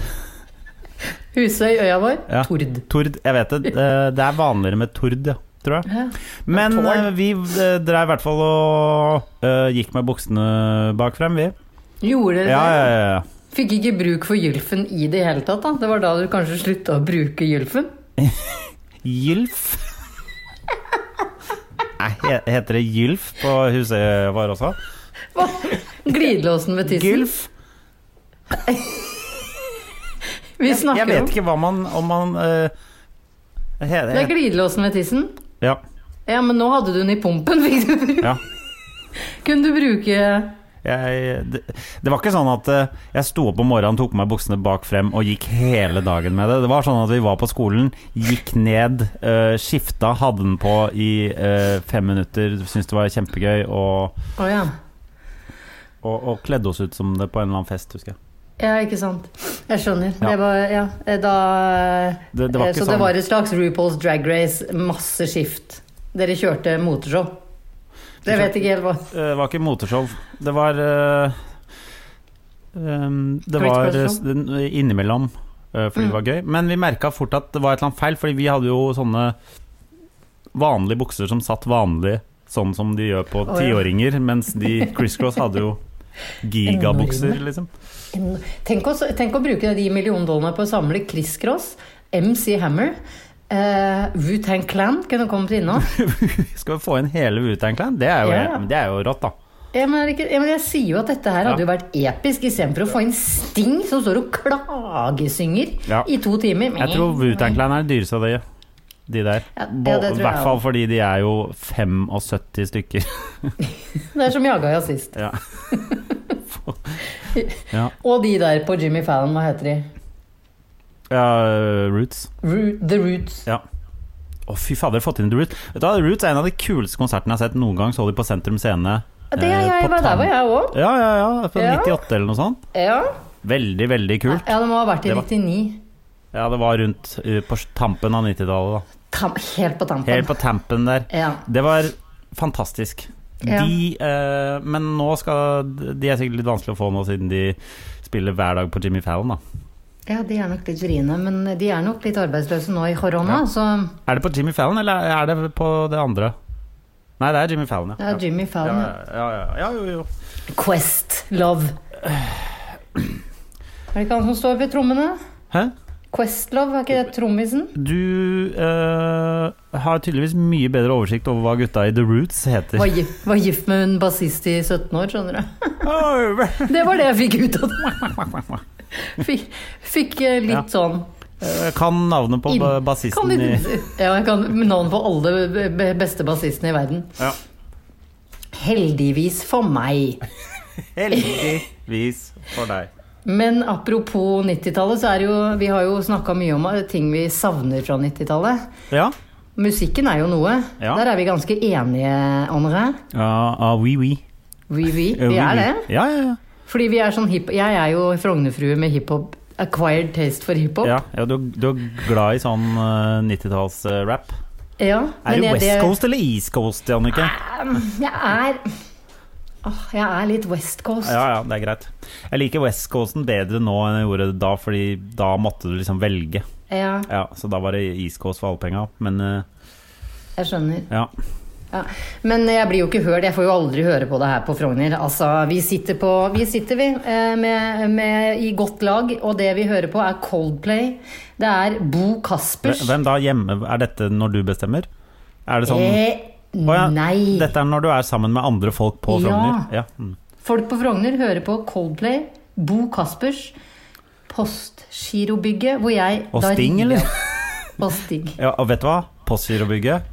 Speaker 2: Husøyøya vår,
Speaker 1: Ja.
Speaker 2: Tord.
Speaker 1: Tord, jeg vet det. Eh, Det er vanligere med Tord, ja, tror jeg.
Speaker 2: Ja.
Speaker 1: Men
Speaker 2: Tord.
Speaker 1: eh, vi eh, dreiv i hvert fall og eh, gikk med buksene bak frem, vi.
Speaker 2: Gjorde dere
Speaker 1: Ja, ja,
Speaker 2: det?
Speaker 1: ja, ja.
Speaker 2: Fikk ikke bruk for gylfen i det hele tatt, da? Det var da du kanskje slutta å bruke gylfen?
Speaker 1: Gylf. Nei, he- heter det Gylf på huset vår også?
Speaker 2: Hva? Glidelåsen med tissen.
Speaker 1: Gylf?
Speaker 2: Vi
Speaker 1: Jeg
Speaker 2: snakker
Speaker 1: vet
Speaker 2: om
Speaker 1: ikke hva man Om man eh, he,
Speaker 2: Det
Speaker 1: he,
Speaker 2: er glidelåsen med tissen.
Speaker 1: Ja.
Speaker 2: Ja, men nå hadde du den i pumpen. Fikk du bruke
Speaker 1: ja.
Speaker 2: Kunne du bruke
Speaker 1: Jeg, det, det var ikke sånn at eh, jeg sto opp om morgenen, tok på meg buksene bak frem og gikk hele dagen med det. Det var sånn at vi var på skolen, gikk ned, eh, skifta, hadde den på i eh, fem minutter, syntes det var kjempegøy, og,
Speaker 2: Å ja.
Speaker 1: og, og kledde oss ut som det på en eller annen fest, husker jeg.
Speaker 2: Ja, ikke sant. Jeg skjønner.
Speaker 1: Ja.
Speaker 2: Det var Ja, eh, da
Speaker 1: Det, det var
Speaker 2: eh,
Speaker 1: ikke
Speaker 2: Så det
Speaker 1: sånn
Speaker 2: var et slags RuPaul's Drag Race, masse skift. Dere kjørte moteshow. Det vet ikke helt hva
Speaker 1: Eh, Det var ikke moteshow. Det var eh, ehm, Det var eh, s- innimellom, eh, fordi
Speaker 2: Mm.
Speaker 1: det var gøy. Men vi merka fort at det var et eller annet feil, fordi vi hadde jo sånne vanlige bukser som satt vanlig, sånn som de gjør på
Speaker 2: Å, ja.
Speaker 1: tiåringer, mens de Criss Cross hadde jo gigabukser,
Speaker 2: Enorme.
Speaker 1: liksom.
Speaker 2: Tenk, oss, tenk å bruke de millionen dollarene på å samle Chris Cross, MC Hammer, eh, Wu-Tang Clan kunne kommet innom.
Speaker 1: Skal vi få inn hele Wutan Clan? Det, er jo-
Speaker 2: Ja.
Speaker 1: det er jo rått, da.
Speaker 2: Ja, men, er det ikke, ja, men jeg sier jo at dette her hadde
Speaker 1: Ja.
Speaker 2: jo vært episk, istedenfor å få inn Sting som står og klagesynger
Speaker 1: Ja.
Speaker 2: i to timer.
Speaker 1: Jeg tror Wutan Clan er det dyreste av de, de der.
Speaker 2: Ja, ja, det
Speaker 1: Bo-
Speaker 2: tror
Speaker 1: I
Speaker 2: jeg
Speaker 1: hvert fall
Speaker 2: også.
Speaker 1: fordi de er jo 75 stykker.
Speaker 2: Det er som jaga jeg sist.
Speaker 1: Ja. ja.
Speaker 2: Og de der på Jimmy Fallon, hva heter de?
Speaker 1: ja eh, Roots.
Speaker 2: Ru- The Roots.
Speaker 1: Ja. Å, fy fader, fått inn The Roots. Vet du, hva, Roots er en av de kuleste konsertene jeg har sett noen gang. Så de på Sentrum Scene.
Speaker 2: Ja, Det er
Speaker 1: eh,
Speaker 2: jeg,
Speaker 1: på
Speaker 2: var der var jeg òg.
Speaker 1: Ja, ja, ja. På
Speaker 2: Ja.
Speaker 1: 98 eller noe sånt.
Speaker 2: Ja.
Speaker 1: Veldig, veldig kult.
Speaker 2: ja, det må ha vært i
Speaker 1: Det var-
Speaker 2: 99.
Speaker 1: Ja, det var rundt eh, på tampen av 90-tallet, da.
Speaker 2: Tam, helt på tampen.
Speaker 1: Helt på tampen der.
Speaker 2: Ja.
Speaker 1: Det var fantastisk.
Speaker 2: Ja.
Speaker 1: De eh, Men nå skal De er sikkert litt vanskelig å få nå, siden de spiller hver dag på Jimmy Fallon, da.
Speaker 2: ja, de er nok litt vriene, men de er nok litt arbeidsløse nå i korona,
Speaker 1: Ja.
Speaker 2: så
Speaker 1: Er det på Jimmy Fallon, eller er det på det andre? Nei, det er Jimmy Fallon,
Speaker 2: det er Jimmy
Speaker 1: Ja,
Speaker 2: Fallon.
Speaker 1: ja, ja, ja, ja, jo, jo.
Speaker 2: Quest Love. Er det ikke han som står ved trommene?
Speaker 1: Hæ?
Speaker 2: Questlove, er ikke det trommisen?
Speaker 1: Du eh, har tydeligvis mye bedre oversikt over hva gutta i The Roots heter.
Speaker 2: Var gift, var gift med en bassist i 17 år, skjønner du.
Speaker 1: Oi.
Speaker 2: Det var det jeg fikk ut av det. Fikk, fikk eh, litt
Speaker 1: Ja.
Speaker 2: sånn
Speaker 1: Eh, kan navnet på
Speaker 2: Inn.
Speaker 1: ba-
Speaker 2: kan
Speaker 1: bassisten i
Speaker 2: litt, Ja, jeg kan navn på alle be- be- beste bassistene i verden.
Speaker 1: ja.
Speaker 2: Heldigvis for meg.
Speaker 1: Heldigvis for deg.
Speaker 2: Men apropos 90-tallet, så er det jo Vi har jo snakka mye om eh, ting vi savner fra 90-tallet.
Speaker 1: Ja.
Speaker 2: Musikken er jo noe.
Speaker 1: Ja.
Speaker 2: Der er vi ganske enige, André.
Speaker 1: Ja, ah, oui, oui.
Speaker 2: Vi, vi.
Speaker 1: Eh, oui,
Speaker 2: vi
Speaker 1: oui.
Speaker 2: er det.
Speaker 1: Ja, ja,
Speaker 2: Fordi vi er sånn hip Jeg er jo Frognerfrue med hiphop. Acquired taste for
Speaker 1: ja.
Speaker 2: hiphop.
Speaker 1: ja, ja du, du er glad i sånn 90-talls-rap.
Speaker 2: Ja,
Speaker 1: er
Speaker 2: men
Speaker 1: du
Speaker 2: jeg-
Speaker 1: West
Speaker 2: det- Mm,
Speaker 1: Coast eller East Coast, Jannicke?
Speaker 2: Jeg er Åh, Jeg er litt West Coast.
Speaker 1: Ja, ja, det er greit. Jeg liker West Coasten bedre nå enn jeg gjorde da, fordi da måtte du liksom velge.
Speaker 2: Ja,
Speaker 1: Ja, Så da var det East Coast for alle penga. Men eh,
Speaker 2: jeg skjønner.
Speaker 1: ja.
Speaker 2: Ja. Men jeg blir jo ikke hørt. Jeg får jo aldri høre på det her på Frogner. Altså, vi sitter på Vi sitter, vi, eh, med, med, i godt lag, og det vi hører på, er Coldplay. Det er Bo Caspers.
Speaker 1: Hve- Hvem da hjemme Er dette når du bestemmer? Er det sånn
Speaker 2: Eh,
Speaker 1: Å ja,
Speaker 2: nei.
Speaker 1: Dette er når du er sammen med andre folk på
Speaker 2: Ja.
Speaker 1: Frogner? Ja. mm.
Speaker 2: Folk på Frogner hører på Coldplay, Bo Caspers, Postgirobygget, hvor jeg
Speaker 1: Og
Speaker 2: da
Speaker 1: Sting,
Speaker 2: ringer
Speaker 1: eller?
Speaker 2: opp. Og Sting.
Speaker 1: ja, og vet du hva? Postgirobygget.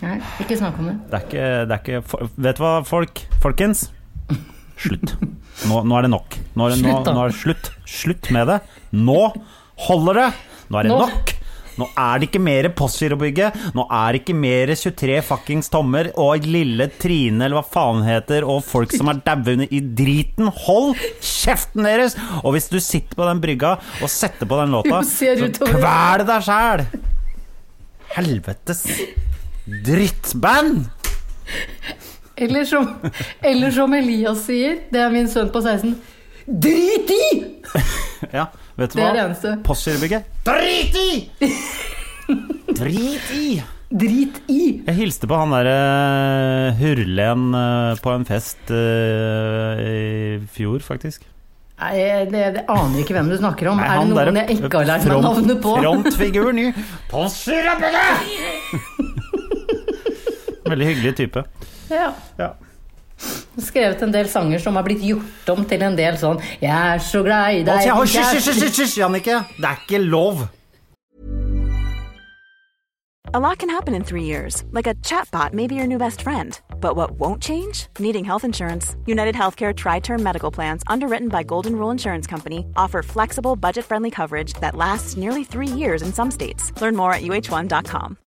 Speaker 2: Nei, ikke snakk om det.
Speaker 1: Det er ikke, det er ikke for- Vet du hva, folk? Folkens? Slutt. Nå, nå er det nok. Nå er det, nå,
Speaker 2: Slutt, da.
Speaker 1: nå er det slutt. Slutt med det. Nå holder det! Nå er det
Speaker 2: Nå.
Speaker 1: nok! Nå er det ikke mer Postgirobygget. Nå er det ikke mer 23 fuckings tommer og lille Trine eller hva faen hun heter, og folk som er dauende i driten. Hold kjeften deres! Og hvis du sitter på den brygga og setter på den låta,
Speaker 2: Hun ser
Speaker 1: så
Speaker 2: utover.
Speaker 1: kvel deg sjæl! Helvetes drittband!
Speaker 2: Eller som, eller som Elias sier, det er min sønn på 16, drit i!
Speaker 1: Ja, vet du
Speaker 2: Det
Speaker 1: hva?
Speaker 2: er det eneste.
Speaker 1: Postgirobygget. Drit i! Drit i!
Speaker 2: Drit i!
Speaker 1: Jeg hilste på han derre Hurlen eh, på en fest eh, i fjor, faktisk.
Speaker 2: Nei, det, det aner ikke hvem du snakker om.
Speaker 1: Nei,
Speaker 2: er
Speaker 1: han
Speaker 2: det
Speaker 1: derre
Speaker 2: noen jeg ikke har lært meg
Speaker 1: front-
Speaker 2: navnet på?
Speaker 1: Frontfiguren i Postgirobygget! Veldig hyggelig type.
Speaker 2: Ja.
Speaker 1: Ja.
Speaker 2: Skrevet en del sanger som har blitt gjort om til en del sånn Jeg er så glad i deg
Speaker 1: Hysj,
Speaker 2: jeg er
Speaker 1: Altså, hysj,
Speaker 2: så-
Speaker 1: hysj, hysj, hysj, Jannicke! Det er ikke lov!
Speaker 3: A lot can happen in three years, like a chatbot may be your new best friend. But what won't change? Needing health insurance. United Healthcare Tri Term Medical Plans, underwritten by Golden Rule Insurance Company, offer flexible, budget friendly coverage that lasts nearly three years in some states. Learn more at uh1.com.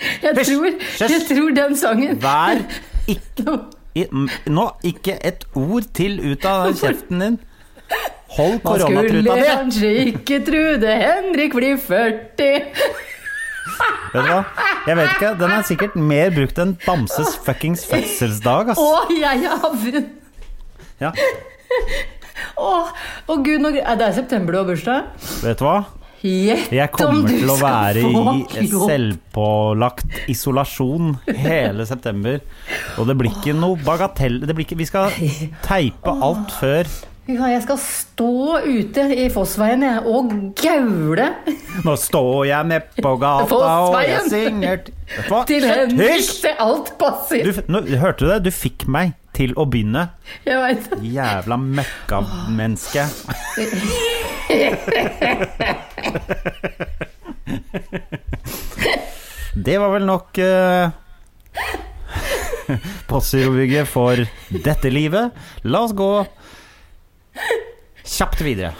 Speaker 2: Jeg
Speaker 1: Hysj,
Speaker 2: tror,
Speaker 1: hysj.
Speaker 2: jeg tror den sangen
Speaker 1: Vær ikke i, m- Nå, ikke et ord til ut av kjeften din. Hold
Speaker 2: Man
Speaker 1: koronatruta
Speaker 2: Skulle
Speaker 1: di!
Speaker 2: kanskje ikke tro det, Henrik blir 40.
Speaker 1: Vet du hva? Jeg vet ikke, Den er sikkert mer brukt enn Bamses fuckings fødselsdag, ass.
Speaker 2: Å, jeg er havren.
Speaker 1: Ja.
Speaker 2: Å, å gud, nå, gr- Nei, det er september du har bursdag.
Speaker 1: Vet du hva?
Speaker 2: Gjett
Speaker 1: Jeg
Speaker 2: om
Speaker 1: kommer
Speaker 2: du
Speaker 1: til å
Speaker 2: skal
Speaker 1: være
Speaker 2: få
Speaker 1: i
Speaker 2: jobb.
Speaker 1: selvpålagt isolasjon hele september. Og det blir ikke noe bagatell det blir ikke, Vi skal teipe alt før
Speaker 2: Fy faen, Jeg skal stå ute i Fossveien jeg, og gaule.
Speaker 1: Nå står jeg nede på gata og jeg
Speaker 2: Fossveien.
Speaker 1: synger til- Vet du hva?
Speaker 2: Til Henrik
Speaker 1: Hysj!
Speaker 2: til alt passer.
Speaker 1: Du, f- nå, hørte du det? Du fikk meg til å begynne.
Speaker 2: Jeg veit det.
Speaker 1: Jævla møkkamenneske. Det var vel nok uh, Postgirobygget for dette livet. La oss gå kjapt videre.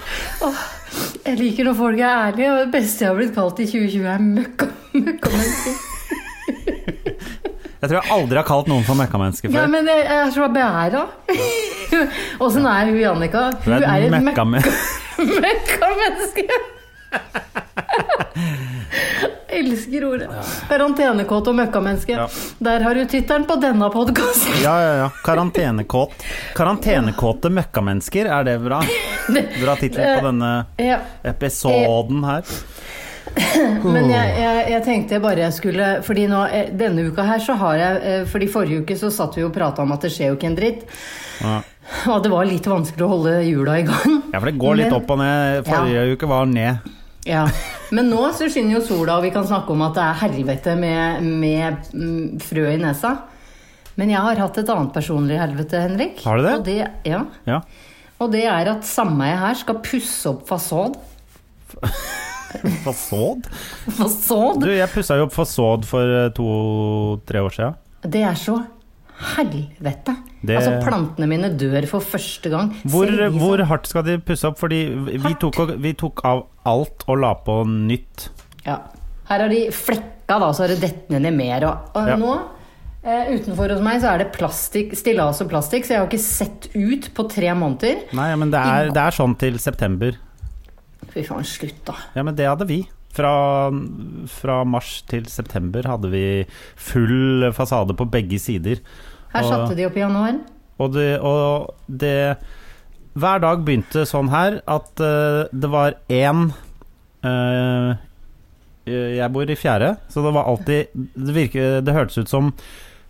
Speaker 2: Jeg liker når folk er ærlige. og Det beste jeg har blitt kalt i 2020, er møkka. møkka
Speaker 1: Jeg tror jeg aldri har kalt noen for møkkamenneske
Speaker 2: ja,
Speaker 1: før.
Speaker 2: men jeg, jeg er så beæra. Åssen er hun Jannika?
Speaker 1: Du
Speaker 2: Hun
Speaker 1: er
Speaker 2: er
Speaker 1: et
Speaker 2: et møkka
Speaker 1: møkkamen-
Speaker 2: menneske. Elsker ordet. Karantenekåt og møkkamenneske.
Speaker 1: Ja.
Speaker 2: Der har du tittelen på denne podkasten.
Speaker 1: Ja, ja, ja. Karantenekåt. Karantenekåte møkkamennesker, er det bra? Bra tittel på denne
Speaker 2: Ja.
Speaker 1: episoden her.
Speaker 2: Men jeg, jeg, jeg tenkte bare jeg skulle Fordi nå, eh, denne uka her så har jeg eh, Fordi forrige uke så satt vi og prata om at det skjer jo ikke en dritt.
Speaker 1: Ja.
Speaker 2: Og at det var litt vanskelig å holde hjula i gang.
Speaker 1: Ja, for det går litt
Speaker 2: Men-
Speaker 1: opp og ned. Forrige uke var ned.
Speaker 2: Ja, Men nå så skinner jo sola, og vi kan snakke om at det er helvete med, med mm, frø i nesa. Men jeg har hatt et annet personlig helvete, Henrik.
Speaker 1: Har du det?
Speaker 2: Og det, ja.
Speaker 1: Ja.
Speaker 2: og det er at sameiet her skal pusse opp fasad.
Speaker 1: Fasad?
Speaker 2: Fasad?
Speaker 1: Du, jeg pussa jo opp fasad for to-tre år siden.
Speaker 2: Det er så helvete.
Speaker 1: Det-
Speaker 2: Altså, plantene mine dør for første gang.
Speaker 1: Hvor,
Speaker 2: Ser de sånn-
Speaker 1: hvor hardt skal de pusse opp? Fordi vi
Speaker 2: Hardt.
Speaker 1: tok, vi tok av alt og la på nytt.
Speaker 2: Ja. Her har de flekka, da, så har det dett ned i mer. Og, og
Speaker 1: Ja.
Speaker 2: nå, eh, utenfor hos meg, så er det plastikk, stillas og plastikk, så jeg har ikke sett ut på tre måneder.
Speaker 1: Nei, men det er, det er sånn til september.
Speaker 2: Fy faen, slutt, da.
Speaker 1: Ja, men det hadde vi. Fra, fra mars til september hadde vi full fasade på begge sider.
Speaker 2: Her
Speaker 1: Og-
Speaker 2: satte de opp i januar.
Speaker 1: Og det, og det Hver dag begynte sånn her at eh, det var én eh, Jeg bor i fjerde, så det var alltid Det, virke, det hørtes ut som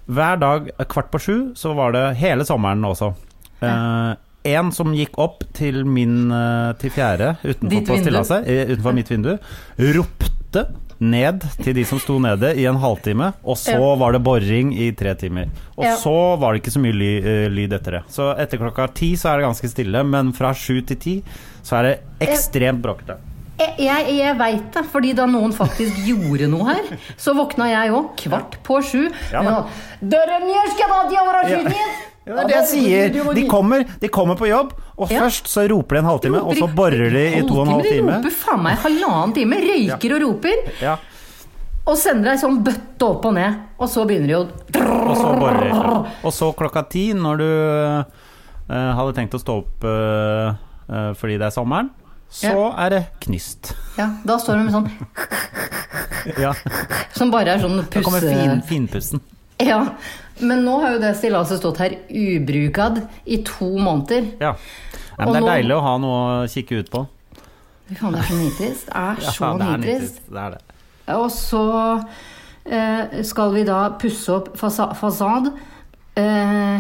Speaker 1: hver dag eh, kvart på sju, så var det hele sommeren også. Eh, en som gikk opp til min eh, til fjerde utenfor,
Speaker 2: Ditt
Speaker 1: på
Speaker 2: vindu.
Speaker 1: stillaset, eh, utenfor mitt vindu, ropte ned til de som sto nede i en halvtime, og så
Speaker 2: Ja.
Speaker 1: var det boring i tre timer. Og
Speaker 2: Ja.
Speaker 1: så var det ikke så mye ly, eh, lyd etter det. Så etter klokka ti så er det ganske stille, men fra sju til ti så er det ekstremt bråkete.
Speaker 2: Jeg, jeg, jeg veit det, fordi da noen faktisk gjorde noe her, så våkna jeg òg kvart på sju.
Speaker 1: Ja da.
Speaker 2: Døren gjør skadat, jeg var av
Speaker 1: Ja.
Speaker 2: skytingen!
Speaker 1: Ja, det er det jeg sier. De kommer, de kommer på jobb, og
Speaker 2: Ja.
Speaker 1: først så roper de en halvtime, og så
Speaker 2: Roper
Speaker 1: borer de i to og en halv
Speaker 2: De
Speaker 1: time.
Speaker 2: roper faen meg halvannen time, røyker og roper,
Speaker 1: Ja,
Speaker 2: og sender ei sånn bøtte opp og ned. Og så begynner de å
Speaker 1: og så borer de. Og så klokka ti, når du eh, hadde tenkt å stå opp eh, eh, fordi det er sommeren, så er det knist.
Speaker 2: Ja, da står de med sånn
Speaker 1: Ja,
Speaker 2: Som bare er sånn
Speaker 1: da kommer fin,
Speaker 2: pusse...
Speaker 1: finpussen.
Speaker 2: Ja. Men nå har jo det stillaset stått her ubrukad i to måneder.
Speaker 1: Ja. Nei, men det
Speaker 2: Og
Speaker 1: er
Speaker 2: nå-
Speaker 1: deilig å ha noe å kikke ut på.
Speaker 2: Fy faen, det er så nitrist. Det er
Speaker 1: Ja,
Speaker 2: så
Speaker 1: det er
Speaker 2: nitrist.
Speaker 1: nitrist, Det er det.
Speaker 2: Og så eh, skal vi da pusse opp fasa fasad. Eh,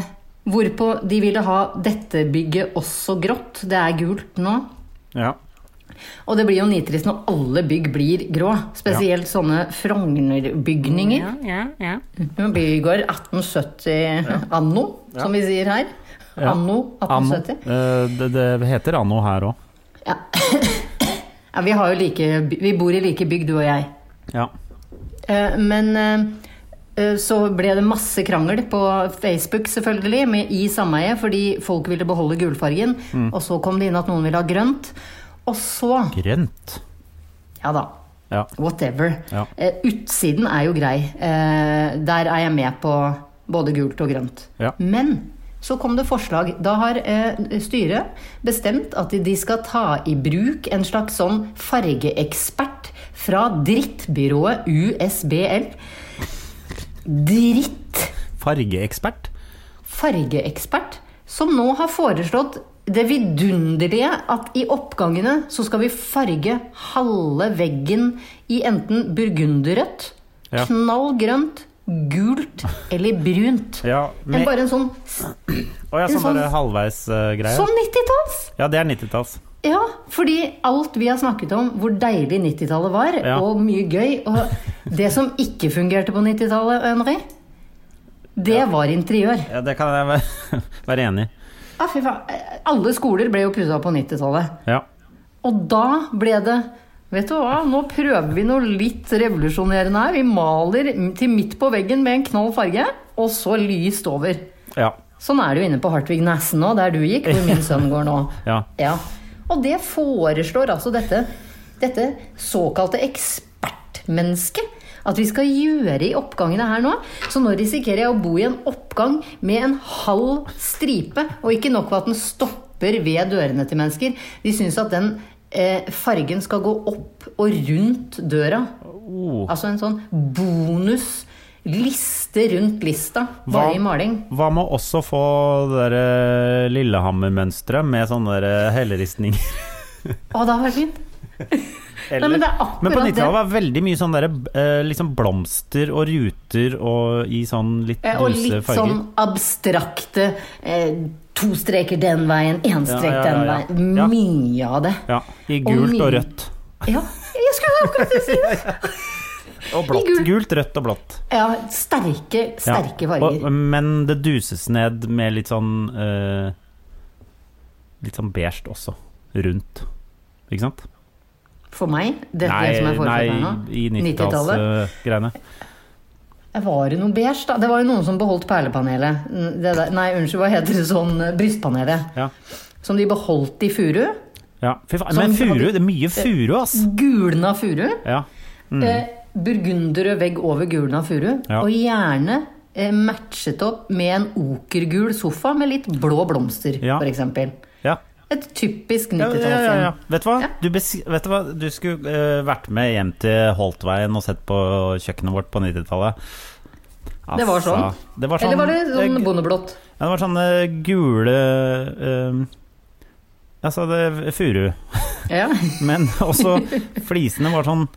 Speaker 2: hvorpå de ville ha dette bygget også grått. Det er gult nå.
Speaker 1: Ja.
Speaker 2: Og det blir jo nitrist når alle bygg blir grå. Spesielt sånne Frogner-bygninger. Bygård 1870 anno, som vi sier her.
Speaker 1: Ja.
Speaker 2: Anno 1870.
Speaker 1: Anno. Eh, det, det heter anno her òg.
Speaker 2: Ja. ja, vi, har jo like, by- vi bor i like bygg, du og jeg.
Speaker 1: Ja.
Speaker 2: Eh, Men eh, eh, så ble det masse krangel på Facebook, selvfølgelig, med i sameie, fordi folk ville beholde gulfargen. Og så kom det inn at noen ville ha grønt. Og så
Speaker 1: Grønt.
Speaker 2: Ja da.
Speaker 1: Ja.
Speaker 2: Whatever.
Speaker 1: Ja.
Speaker 2: Eh, utsiden er jo grei. Eh, der er jeg med på både gult og grønt.
Speaker 1: Ja.
Speaker 2: Men så kom det forslag. Da har eh, styret bestemt at de skal ta i bruk en slags sånn fargeekspert fra drittbyrået USBL. Dritt
Speaker 1: Fargeekspert.
Speaker 2: fargeekspert som nå har foreslått det vidunderlige at i oppgangene så skal vi farge halve veggen i enten burgunderrødt,
Speaker 1: Ja.
Speaker 2: knallgrønt, gult eller brunt.
Speaker 1: Ja,
Speaker 2: Men
Speaker 1: med-
Speaker 2: bare en sånn
Speaker 1: Å ja,
Speaker 2: En
Speaker 1: sånn bare
Speaker 2: sånn-
Speaker 1: halvveisgreie.
Speaker 2: sånn 90-talls!
Speaker 1: Ja, det er 90-talls.
Speaker 2: Ja, fordi alt vi har snakket om, hvor deilig 90-tallet var,
Speaker 1: Ja.
Speaker 2: og mye gøy Og det som ikke fungerte på 90-tallet, Henri, det var interiør.
Speaker 1: Ja, det kan jeg være, være enig i.
Speaker 2: Ja, fy faen. Alle skoler ble jo pussa på 90-tallet.
Speaker 1: Ja.
Speaker 2: Og da ble det Vet du hva, nå prøver vi noe litt revolusjonerende her. Vi maler til midt på veggen med en knall farge, og så lyst over.
Speaker 1: Ja.
Speaker 2: Sånn er det jo inne på Hartvig Næssen nå, der du gikk, hvor min sønn går nå.
Speaker 1: Ja.
Speaker 2: Og det foreslår altså dette, dette såkalte ekspertmennesket. At vi skal gjøre i oppgangene her nå. Så nå risikerer jeg å bo i en oppgang med en halv stripe. Og ikke nok med at den stopper ved dørene til mennesker. De syns at den eh, fargen skal gå opp og rundt døra.
Speaker 1: Oh.
Speaker 2: Altså en sånn bonus liste rundt lista, bare i maling.
Speaker 1: hva med også få det der eh, Lillehammer-mønsteret med sånne der eh, helleristninger?
Speaker 2: Å, det hadde vært fint.
Speaker 1: Eller-
Speaker 2: men det er akkurat
Speaker 1: men på
Speaker 2: det.
Speaker 1: 90-tallet var det veldig mye sånn der, eh, liksom blomster og ruter og i sånn litt
Speaker 2: Eh, Og
Speaker 1: duse
Speaker 2: litt
Speaker 1: farger.
Speaker 2: sånn abstrakte eh, To streker den veien, én strek
Speaker 1: Ja, ja, ja, ja.
Speaker 2: den veien.
Speaker 1: Ja.
Speaker 2: Mye av det.
Speaker 1: Ja, I gult
Speaker 2: mye-
Speaker 1: og rødt.
Speaker 2: Ja, jeg skulle akkurat si det!
Speaker 1: Og blått.
Speaker 2: gult.
Speaker 1: Gult, rødt og blått.
Speaker 2: Ja, sterke,
Speaker 1: Ja.
Speaker 2: sterke farger.
Speaker 1: Og, men det duses ned med litt sånn eh, Litt sånn beige også. Rundt. Ikke sant?
Speaker 2: For meg, dette som jeg foreslår her nå.
Speaker 1: i eh, 90-tallsgreiene.
Speaker 2: Eh, Var det noe beige, da? Det var jo noen som beholdt perlepanelet. Mm, Det der, nei, unnskyld, hva heter det sånn eh, brystpanelet?
Speaker 1: Ja.
Speaker 2: Som de beholdt i furu.
Speaker 1: Ja. Fy faen,
Speaker 2: Som-
Speaker 1: men furu, det er mye furu, ass!
Speaker 2: Mm. Gulna furu.
Speaker 1: Ja.
Speaker 2: Eh, burgunderrød vegg over gulna furu.
Speaker 1: Mm. Ja.
Speaker 2: Og gjerne eh, matchet opp med en okergul sofa med litt blå blomster,
Speaker 1: Ja.
Speaker 2: for eksempel
Speaker 1: ja.
Speaker 2: Et typisk
Speaker 1: Ja, ja,
Speaker 2: 90-tallsfilm.
Speaker 1: ja, ja. Vet, du hva?
Speaker 2: Ja.
Speaker 1: Du bes vet du hva? Du skulle eh, vært med hjem til Holtveien og sett på kjøkkenet vårt på 90-tallet.
Speaker 2: Det var
Speaker 1: Altså,
Speaker 2: sånn.
Speaker 1: det var
Speaker 2: Eller var det sånn
Speaker 1: eh,
Speaker 2: bondeblått?
Speaker 1: Ja, det var sånne gule eh, Altså, det furu.
Speaker 2: Ja.
Speaker 1: Men også flisene var sånn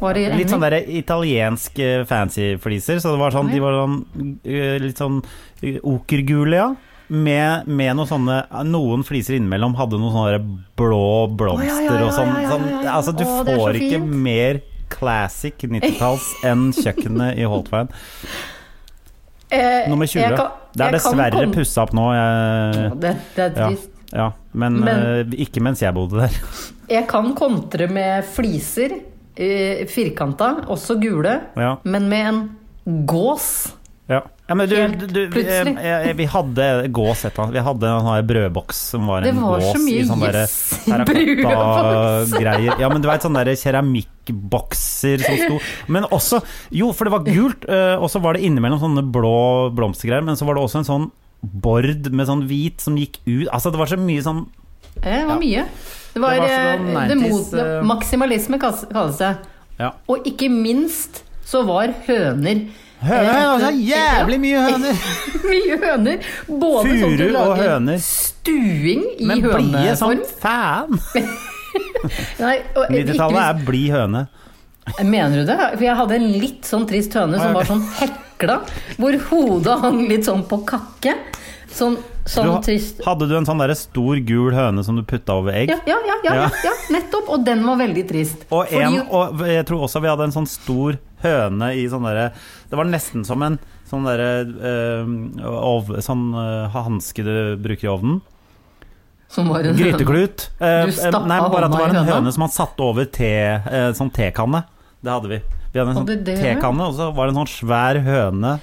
Speaker 2: Var det
Speaker 1: Litt sånn der italiensk eh, fancy fliser. Så det var sånn, de var sånn eh, litt sånn eh, okergule, ja. Med, med noen sånne eh, Noen fliser innimellom hadde noen sånne der blå blomster
Speaker 2: Å, ja, ja, ja,
Speaker 1: og sånn.
Speaker 2: ja, ja,
Speaker 1: sånn
Speaker 2: ja, ja.
Speaker 1: altså, du
Speaker 2: Å, det er så
Speaker 1: får ikke
Speaker 2: fint.
Speaker 1: mer classic 90-talls enn kjøkkenet i Holtveien.
Speaker 2: Eh,
Speaker 1: Nummer 20.
Speaker 2: jeg kan-
Speaker 1: det er
Speaker 2: jeg kan
Speaker 1: dessverre
Speaker 2: komme-
Speaker 1: pussa opp nå. Jeg,
Speaker 2: Det, det er
Speaker 1: ja,
Speaker 2: trist.
Speaker 1: ja, men
Speaker 2: Men-
Speaker 1: eh, ikke mens jeg bodde der.
Speaker 2: Jeg kan kontre med fliser, eh, firkanta, også gule,
Speaker 1: Ja.
Speaker 2: men med en gås.
Speaker 1: Ja, ja men du,
Speaker 2: Helt
Speaker 1: du, du vi,
Speaker 2: plutselig.
Speaker 1: eh, vi hadde gås et eller annet. Vi hadde en sånn her brødboks som var
Speaker 2: Det
Speaker 1: en
Speaker 2: var så
Speaker 1: gås
Speaker 2: mye
Speaker 1: i sånn derre
Speaker 2: yes i brødboks.
Speaker 1: terrakotta-greier. Ja, men du veit sånne derre keramikkbokser som sto Men også Jo, for det var gult, eh, og så var det innimellom sånne blå blomstergreier, men så var det også en sånn Bord med sånn hvit som gikk ut Altså, det var så mye sånn
Speaker 2: Eh, Det var mye. Det var,
Speaker 1: Det var
Speaker 2: eh,
Speaker 1: sånn
Speaker 2: det
Speaker 1: 90s,
Speaker 2: mot,
Speaker 1: eh,
Speaker 2: maksimalisme kalles kalles det.
Speaker 1: Ja.
Speaker 2: Og ikke minst så var høner
Speaker 1: Høner,
Speaker 2: eh,
Speaker 1: altså, jævlig mye høner.
Speaker 2: mye høner! Både sånn til
Speaker 1: Furu
Speaker 2: å
Speaker 1: og
Speaker 2: lage
Speaker 1: høner.
Speaker 2: stuing i
Speaker 1: Men blide som
Speaker 2: høneform.
Speaker 1: faen!
Speaker 2: Nei, og ikke
Speaker 1: 90-tallet er blid høne.
Speaker 2: Mener du det? For jeg hadde en litt sånn trist høne som var sånn hekla, hvor hodet hang litt sånn på kakke. Sånn,
Speaker 1: Du,
Speaker 2: sånn trist.
Speaker 1: hadde du en sånn der stor gul høne som du putta over egg?
Speaker 2: Ja, ja, ja, ja,
Speaker 1: Ja.
Speaker 2: ja, ja, nettopp. Og den var veldig trist.
Speaker 1: Og, en,
Speaker 2: Fordi-
Speaker 1: og jeg tror også vi hadde en sånn stor høne i sånn derre Det var nesten som en sånn derre eh, ov- Sånn eh, hanske du bruker i ovnen.
Speaker 2: som var en
Speaker 1: Gryteklut. Eh,
Speaker 2: Du stappa
Speaker 1: eh, nei, bare at det var
Speaker 2: hånda i
Speaker 1: en
Speaker 2: høna?
Speaker 1: høne som han satte over te, eh, sånn tekanne. Det hadde vi. Vi hadde en
Speaker 2: Hadde
Speaker 1: sånn
Speaker 2: dere?
Speaker 1: tekanne, og så var det en sånn svær høne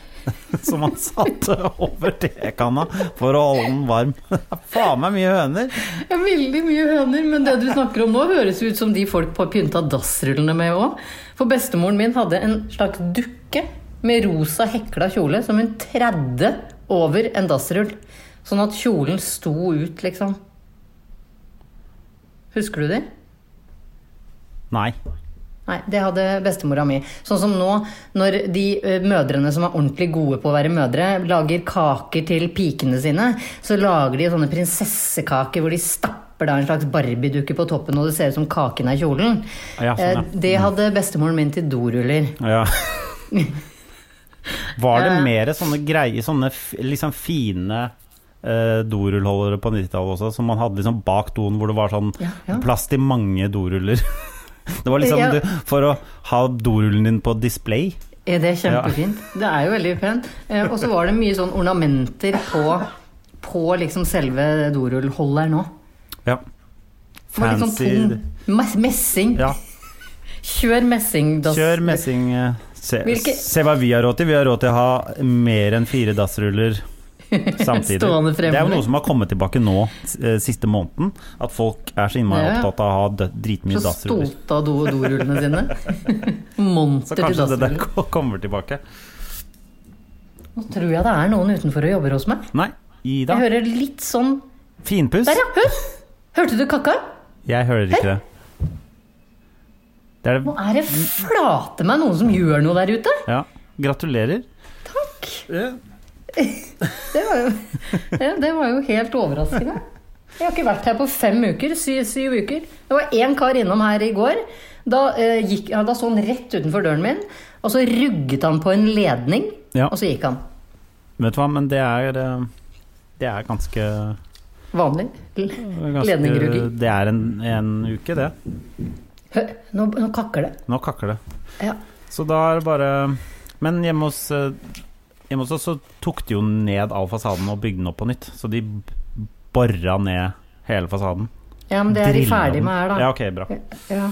Speaker 1: som han satte over tekanna for å holde den varm. Faen meg mye høner.
Speaker 2: Ja, Veldig mye høner, men det du snakker om nå høres ut som de folk på pynta dassrullene med òg. For bestemoren min hadde en slags dukke med rosa hekla kjole som hun tredde over en dassrull. Sånn at kjolen sto ut, liksom. Husker du det?
Speaker 1: Nei.
Speaker 2: Nei, det hadde bestemora mi. Sånn som nå, når de eh, mødrene som er ordentlig gode på å være mødre, lager kaker til pikene sine, så lager de sånne prinsessekaker hvor de stapper da en slags Barbie-dukke på toppen, og det ser ut som kaken er kjolen.
Speaker 1: Ja, sånn, ja.
Speaker 2: Eh, Det hadde bestemoren min til doruller.
Speaker 1: Ja. Var det
Speaker 2: Eh.
Speaker 1: mer sånne greier, sånne f- liksom fine eh, dorullholdere på 90-tallet også, som man hadde liksom bak doen hvor det var sånn
Speaker 2: Ja, ja.
Speaker 1: plass til mange doruller? Det var liksom
Speaker 2: Ja.
Speaker 1: du, for å ha dorullen din på display.
Speaker 2: Er det kjempefint? Det er jo veldig pent. Eh, Og så var det mye sånn ornamenter på, på liksom selve dorullholderen òg.
Speaker 1: Ja.
Speaker 2: sånn
Speaker 1: Fancy
Speaker 2: Messing.
Speaker 1: Ja,
Speaker 2: Kjør messing. dass-
Speaker 1: kjør messing. eh, Se,
Speaker 2: Hvilke-
Speaker 1: se hva vi har råd til. Vi har råd til å ha mer enn fire dassruller samtidig.
Speaker 2: Stående fremover.
Speaker 1: Det er jo noe som har kommet tilbake nå eh, siste måneden. At folk er så innmari
Speaker 2: Ja, ja.
Speaker 1: opptatt av å ha dø- dritmye
Speaker 2: Så
Speaker 1: dassruller.
Speaker 2: stolte av do- dorullene sine.
Speaker 1: Så
Speaker 2: Monter til
Speaker 1: kanskje det der
Speaker 2: dassruller.
Speaker 1: ko- kommer tilbake.
Speaker 2: Nå tror jeg det er noen utenfor og jobber hos meg.
Speaker 1: Nei, Ida.
Speaker 2: Jeg hører litt sånn
Speaker 1: Finpuss.
Speaker 2: Der, ja! Hør! Hørte du kakka?
Speaker 1: Jeg hører ikke det. Det er
Speaker 2: Nå
Speaker 1: det
Speaker 2: er det flate meg noen som gjør noe der ute.
Speaker 1: Ja. Gratulerer.
Speaker 2: Takk! Det var jo, ja, det var jo helt overraskende. Jeg har ikke vært her på fem uker. Syv, syv uker. Det var én kar innom her i går. Da, eh, gikk, ja, da så han rett utenfor døren min, og så rugget han på en ledning,
Speaker 1: Ja.
Speaker 2: og så gikk han.
Speaker 1: Vet du hva, men det er eh, Det er ganske,
Speaker 2: Vanlig.
Speaker 1: ganske
Speaker 2: Ledningrugging.
Speaker 1: Det er en, en uke, det.
Speaker 2: Hø, nå, nå kakker det.
Speaker 1: Nå kakker det.
Speaker 2: Ja.
Speaker 1: Så da er det bare Men hjemme hos eh, Hjemme hos oss så tok de jo ned all fasaden og bygde den opp på nytt. Så de bora ned hele fasaden.
Speaker 2: Ja, men det er de
Speaker 1: Drilla
Speaker 2: ferdig
Speaker 1: den.
Speaker 2: med her, da.
Speaker 1: Ja, ok, bra.
Speaker 2: Ja, ja.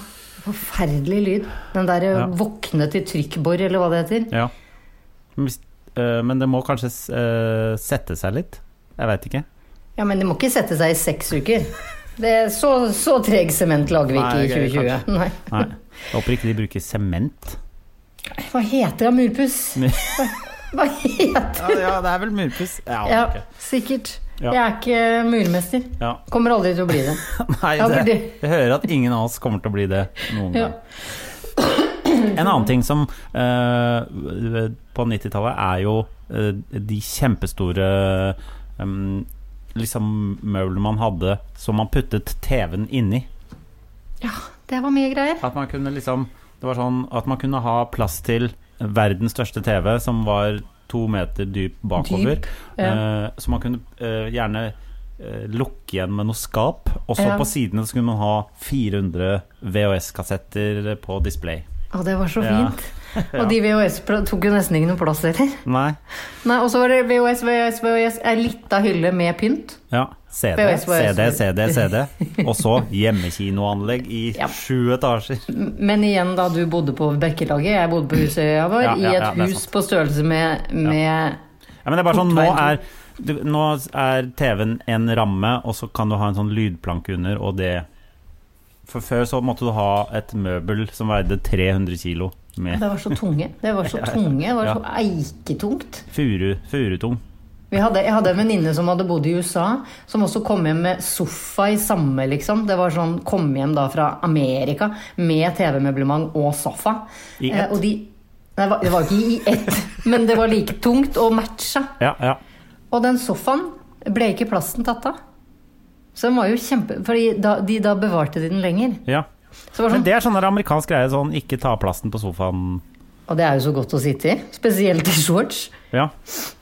Speaker 2: Forferdelig lyd. Den derre
Speaker 1: Ja.
Speaker 2: våkne til trykkbor, eller hva det heter.
Speaker 1: Ja. Men hvis- eh, Men det må kanskje s- eh, sette seg litt? Jeg veit ikke.
Speaker 2: Ja, men det må ikke sette seg i seks uker. Det er så, så treg sement lager vi ikke
Speaker 1: Nei,
Speaker 2: i
Speaker 1: ok,
Speaker 2: 2020.
Speaker 1: kanskje.
Speaker 2: Nei.
Speaker 1: Nei. Jeg håper ikke de bruker sement.
Speaker 2: Hva heter det, murpuss?
Speaker 1: Mur-
Speaker 2: Hva, hva heter
Speaker 1: Ja, det er vel murpuss. Ja,
Speaker 2: Ja,
Speaker 1: ok.
Speaker 2: sikkert.
Speaker 1: Ja.
Speaker 2: Jeg er ikke murmester.
Speaker 1: Ja.
Speaker 2: Kommer aldri til å bli det.
Speaker 1: Nei,
Speaker 2: Ja, for
Speaker 1: det,
Speaker 2: det-
Speaker 1: jeg hører at ingen av oss kommer til å bli det noen
Speaker 2: Ja.
Speaker 1: gang. En annen ting som eh, på 90-tallet er jo eh, de kjempestore um, liksom møblene man hadde som man puttet TV-en inni.
Speaker 2: Det var mye greier.
Speaker 1: At man kunne liksom Det var sånn at man kunne ha plass til verdens største TV som var to meter dyp bakover.
Speaker 2: Dyp, ja.
Speaker 1: Eh, så man kunne eh, gjerne eh, lukke igjen med noe skap. Og så
Speaker 2: Ja.
Speaker 1: på sidene så kunne man ha 400 VHS-kassetter på display.
Speaker 2: Å, det var så
Speaker 1: Ja.
Speaker 2: fint. Og de VHS tok jo nesten ikke noe plass heller.
Speaker 1: Nei.
Speaker 2: Nei, og så var det VHS, VHS, VHS. Ei lita hylle med pynt.
Speaker 1: Ja. CD,
Speaker 2: VHS,
Speaker 1: CD, CD, CD. Og så hjemmekinoanlegg i
Speaker 2: Ja.
Speaker 1: sju etasjer.
Speaker 2: Men igjen, da, du bodde på Bekkelaget, jeg bodde på Husøya vår,
Speaker 1: Ja, ja,
Speaker 2: i
Speaker 1: ja,
Speaker 2: et
Speaker 1: det er
Speaker 2: hus
Speaker 1: sant.
Speaker 2: på størrelse med, med
Speaker 1: Ja, men det er bare sånn, nå er,
Speaker 2: Portveien.
Speaker 1: du, nå er TV-en en ramme, og så kan du ha en sånn lydplanke under, og det For før så måtte du ha et møbel som veide 300 kilo med
Speaker 2: Det var så tunge. Det var så tunge, det var
Speaker 1: Ja.
Speaker 2: så eiketungt.
Speaker 1: furu, furutung.
Speaker 2: Vi hadde, jeg hadde en venninne som hadde bodd i USA, som også kom hjem med sofa i samme, liksom. Det var sånn kom hjem da fra Amerika med TV-møblement og sofa.
Speaker 1: I ett?
Speaker 2: Eh, og de, nei, det var- det var ikke i ett, men det var like tungt å matche.
Speaker 1: Ja, ja.
Speaker 2: Og den sofaen ble ikke plasten tatt av. Så den var jo kjempe... Fordi da, de da bevarte de den lenger.
Speaker 1: ja.
Speaker 2: Så det var
Speaker 1: Men
Speaker 2: sånn,
Speaker 1: det er sånn der amerikansk greie, sånn ikke ta plasten på sofaen.
Speaker 2: og det er jo så godt å sitte i. Spesielt i shorts.
Speaker 1: Ja.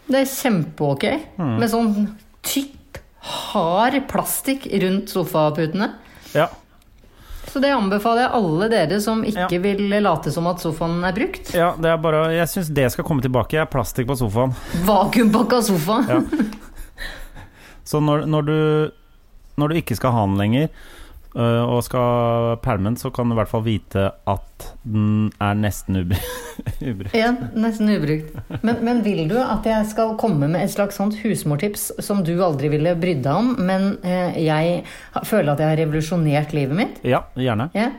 Speaker 2: Det er kjempeok.
Speaker 1: Mm.
Speaker 2: Med sånn tykk, hard plastikk rundt sofaputene.
Speaker 1: ja.
Speaker 2: Så det anbefaler jeg alle dere som ikke
Speaker 1: Ja.
Speaker 2: vil late som at sofaen er brukt.
Speaker 1: Ja, det er bare Jeg syns det skal komme tilbake. Jeg er plastikk på sofaen.
Speaker 2: Vakuumpakka sofa.
Speaker 1: Ja. Så når, når du Når du ikke skal ha den lenger, øh, og skal pælme den, så kan du i hvert fall vite at den er nesten ubru- ubrukt.
Speaker 2: Ja, nesten ubrukt. Men, men vil du at jeg skal komme med et slags sånt husmortips som du aldri ville brydd deg om, men eh, jeg ha- føler at jeg har revolusjonert livet mitt?
Speaker 1: Ja, gjerne.
Speaker 2: Ja.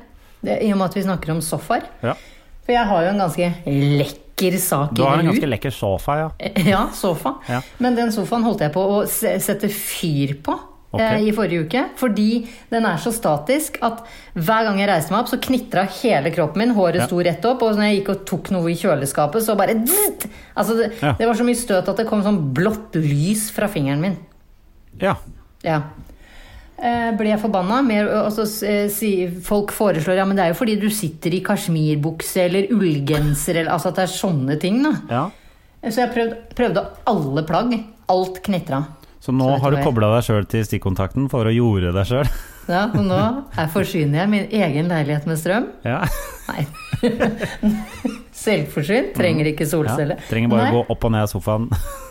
Speaker 2: Det, I og med at vi snakker om sofaer.
Speaker 1: Ja.
Speaker 2: For jeg har jo en ganske lekker sak
Speaker 1: Du har en
Speaker 2: i lur.
Speaker 1: ganske lekker sofa, ja.
Speaker 2: Ja, sofa.
Speaker 1: Ja.
Speaker 2: Men den sofaen holdt jeg på å se- sette fyr på.
Speaker 1: Ok.
Speaker 2: eh, I forrige uke, fordi den er så statisk at hver gang jeg reiste meg opp, så knitra hele kroppen min. Håret
Speaker 1: Ja.
Speaker 2: sto rett opp, og når jeg gikk og tok noe i kjøleskapet, så bare dzzt! Altså, det,
Speaker 1: Ja.
Speaker 2: det var så mye støt at det kom sånn blått lys fra fingeren min.
Speaker 1: ja.
Speaker 2: Ja. Eh, Ble jeg forbanna? Mer, og så s- eh, si, folk foreslår ja, men det er jo fordi du sitter i kasjmirbukse eller ullgenser eller Altså at det er sånne ting, da.
Speaker 1: ja.
Speaker 2: Så jeg prøvde, prøvde alle plagg. Alt knitra.
Speaker 1: Så nå
Speaker 2: Så vet
Speaker 1: har
Speaker 2: du
Speaker 1: du
Speaker 2: hva jeg-
Speaker 1: kobla deg sjøl til stikkontakten for å jorde deg sjøl.
Speaker 2: Ja, og nå er forsyner jeg min egen leilighet med strøm.
Speaker 1: Ja.
Speaker 2: Nei. Selvforsynt. Trenger ikke
Speaker 1: Mhm. Ja.
Speaker 2: solcelle.
Speaker 1: Trenger bare
Speaker 2: Nei,
Speaker 1: å gå opp og ned av sofaen.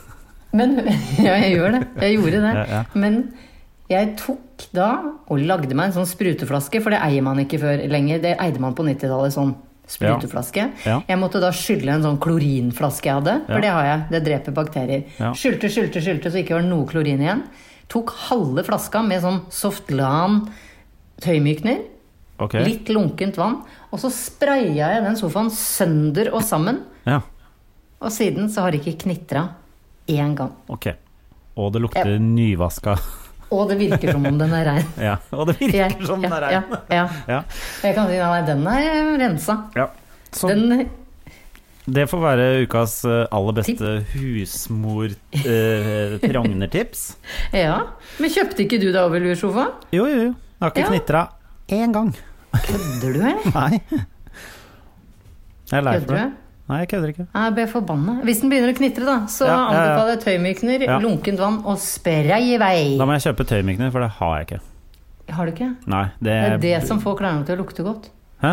Speaker 2: Men, ja, jeg gjør det. Jeg gjorde det.
Speaker 1: Ja, ja.
Speaker 2: Men jeg tok da og lagde meg en sånn spruteflaske, for det eier man ikke før lenger. Det eide man på 90-tallet, sånn spruteflaske.
Speaker 1: Ja. Ja.
Speaker 2: Jeg måtte da skylle en sånn klorinflaske jeg hadde, for
Speaker 1: Ja.
Speaker 2: det har jeg. Det dreper bakterier.
Speaker 1: Ja.
Speaker 2: Skylte, skylte, skylte, så ikke var det noe klorin igjen. Tok halve flaska med sånn Softlan tøymykner.
Speaker 1: Ok.
Speaker 2: Litt lunkent vann. Og så spraya jeg den sofaen sønder og sammen.
Speaker 1: Ja.
Speaker 2: Og siden så har det ikke knitra én gang.
Speaker 1: Ok. Og det lukter nyvaska.
Speaker 2: Og det virker som om den er rein.
Speaker 1: Ja. Og det
Speaker 2: Ja,
Speaker 1: virker som den er
Speaker 2: ja,
Speaker 1: rein.
Speaker 2: ja.
Speaker 1: Ja.
Speaker 2: Og jeg kan si nei, nei, den er rensa.
Speaker 1: ja. Så
Speaker 2: Den,
Speaker 1: det får være ukas eh, aller beste eh, husmor-prognertips.
Speaker 2: ja. Men kjøpte ikke du deg overluesofa?
Speaker 1: Jo, jo, jo. Jeg har ikke
Speaker 2: Ja.
Speaker 1: knitra én gang.
Speaker 2: Kødder du, eller?
Speaker 1: Nei. Jeg er lei
Speaker 2: Kødder
Speaker 1: for det.
Speaker 2: du?
Speaker 1: Nei, jeg kødder ikke.
Speaker 2: Jeg ble forbanna. Hvis den begynner å knitre, da, så
Speaker 1: Ja, ja, ja.
Speaker 2: anbefaler jeg tøymykner,
Speaker 1: Ja.
Speaker 2: lunkent vann og spray i vei.
Speaker 1: Da må jeg kjøpe tøymykner, for det har jeg ikke.
Speaker 2: Har du ikke?
Speaker 1: Nei, det,
Speaker 2: Det er det som får klærne til å lukte godt.
Speaker 1: Hæ?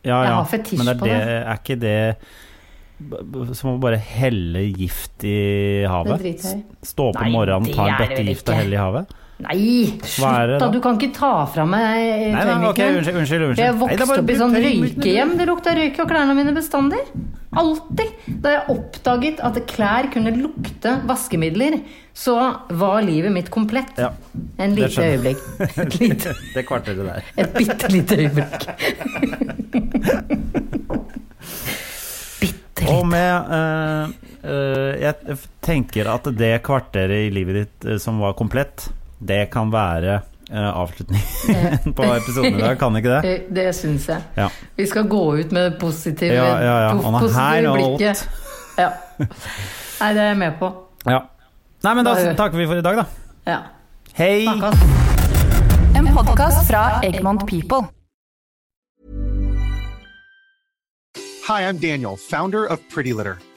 Speaker 1: Ja,
Speaker 2: Jeg
Speaker 1: ja.
Speaker 2: har fetisj
Speaker 1: Men det er,
Speaker 2: på det.
Speaker 1: det, er ikke det b- b- som å bare helle gift i
Speaker 2: Det
Speaker 1: havet?
Speaker 2: driter jeg i.
Speaker 1: S- Stå opp
Speaker 2: Nei,
Speaker 1: om morgenen,
Speaker 2: det
Speaker 1: ta en
Speaker 2: er det vel
Speaker 1: bøtte gift
Speaker 2: ikke.
Speaker 1: og helle i havet?
Speaker 2: Nei,
Speaker 1: Hva er det
Speaker 2: slutt da!
Speaker 1: da?
Speaker 2: Du kan ikke ta fra meg
Speaker 1: Nei, nei, ok,
Speaker 2: tøymykneren.
Speaker 1: unnskyld, unnskyld. unnskyld. Nei, det
Speaker 2: Jeg
Speaker 1: er
Speaker 2: vokste
Speaker 1: bare
Speaker 2: opp i sånn
Speaker 1: tøymykner.
Speaker 2: røykehjem. Det lukta røyk av klærne mine bestandig. Alltid. Da jeg oppdaget at klær kunne lukte vaskemidler, så var livet mitt komplett.
Speaker 1: Ja.
Speaker 2: En
Speaker 1: det
Speaker 2: lite
Speaker 1: skjønner
Speaker 2: øyeblikk. Et, lite,
Speaker 1: Det kvarteret der.
Speaker 2: et bitte lite øyeblikk. bitte
Speaker 1: Og
Speaker 2: lite.
Speaker 1: med eh, eh, Jeg f- tenker at det kvarteret i livet ditt eh, som var komplett, det kan være eh, avslutningen på episoden i dag, kan ikke det?
Speaker 2: Eh, Det syns jeg.
Speaker 1: Ja.
Speaker 2: Vi skal gå ut med positive,
Speaker 1: Ja, ja, ja. Han
Speaker 2: po-
Speaker 1: er her
Speaker 2: positive
Speaker 1: og
Speaker 2: blikket. Ja. Nei, det er jeg med på.
Speaker 1: ja. Nei, men da
Speaker 2: Da-
Speaker 1: takker vi for i dag, da.
Speaker 2: Ja.
Speaker 1: Hei!
Speaker 2: Snakkes.
Speaker 4: En podkast fra Egmont People.
Speaker 5: Hi, I'm Daniel, founder of Pretty Litter.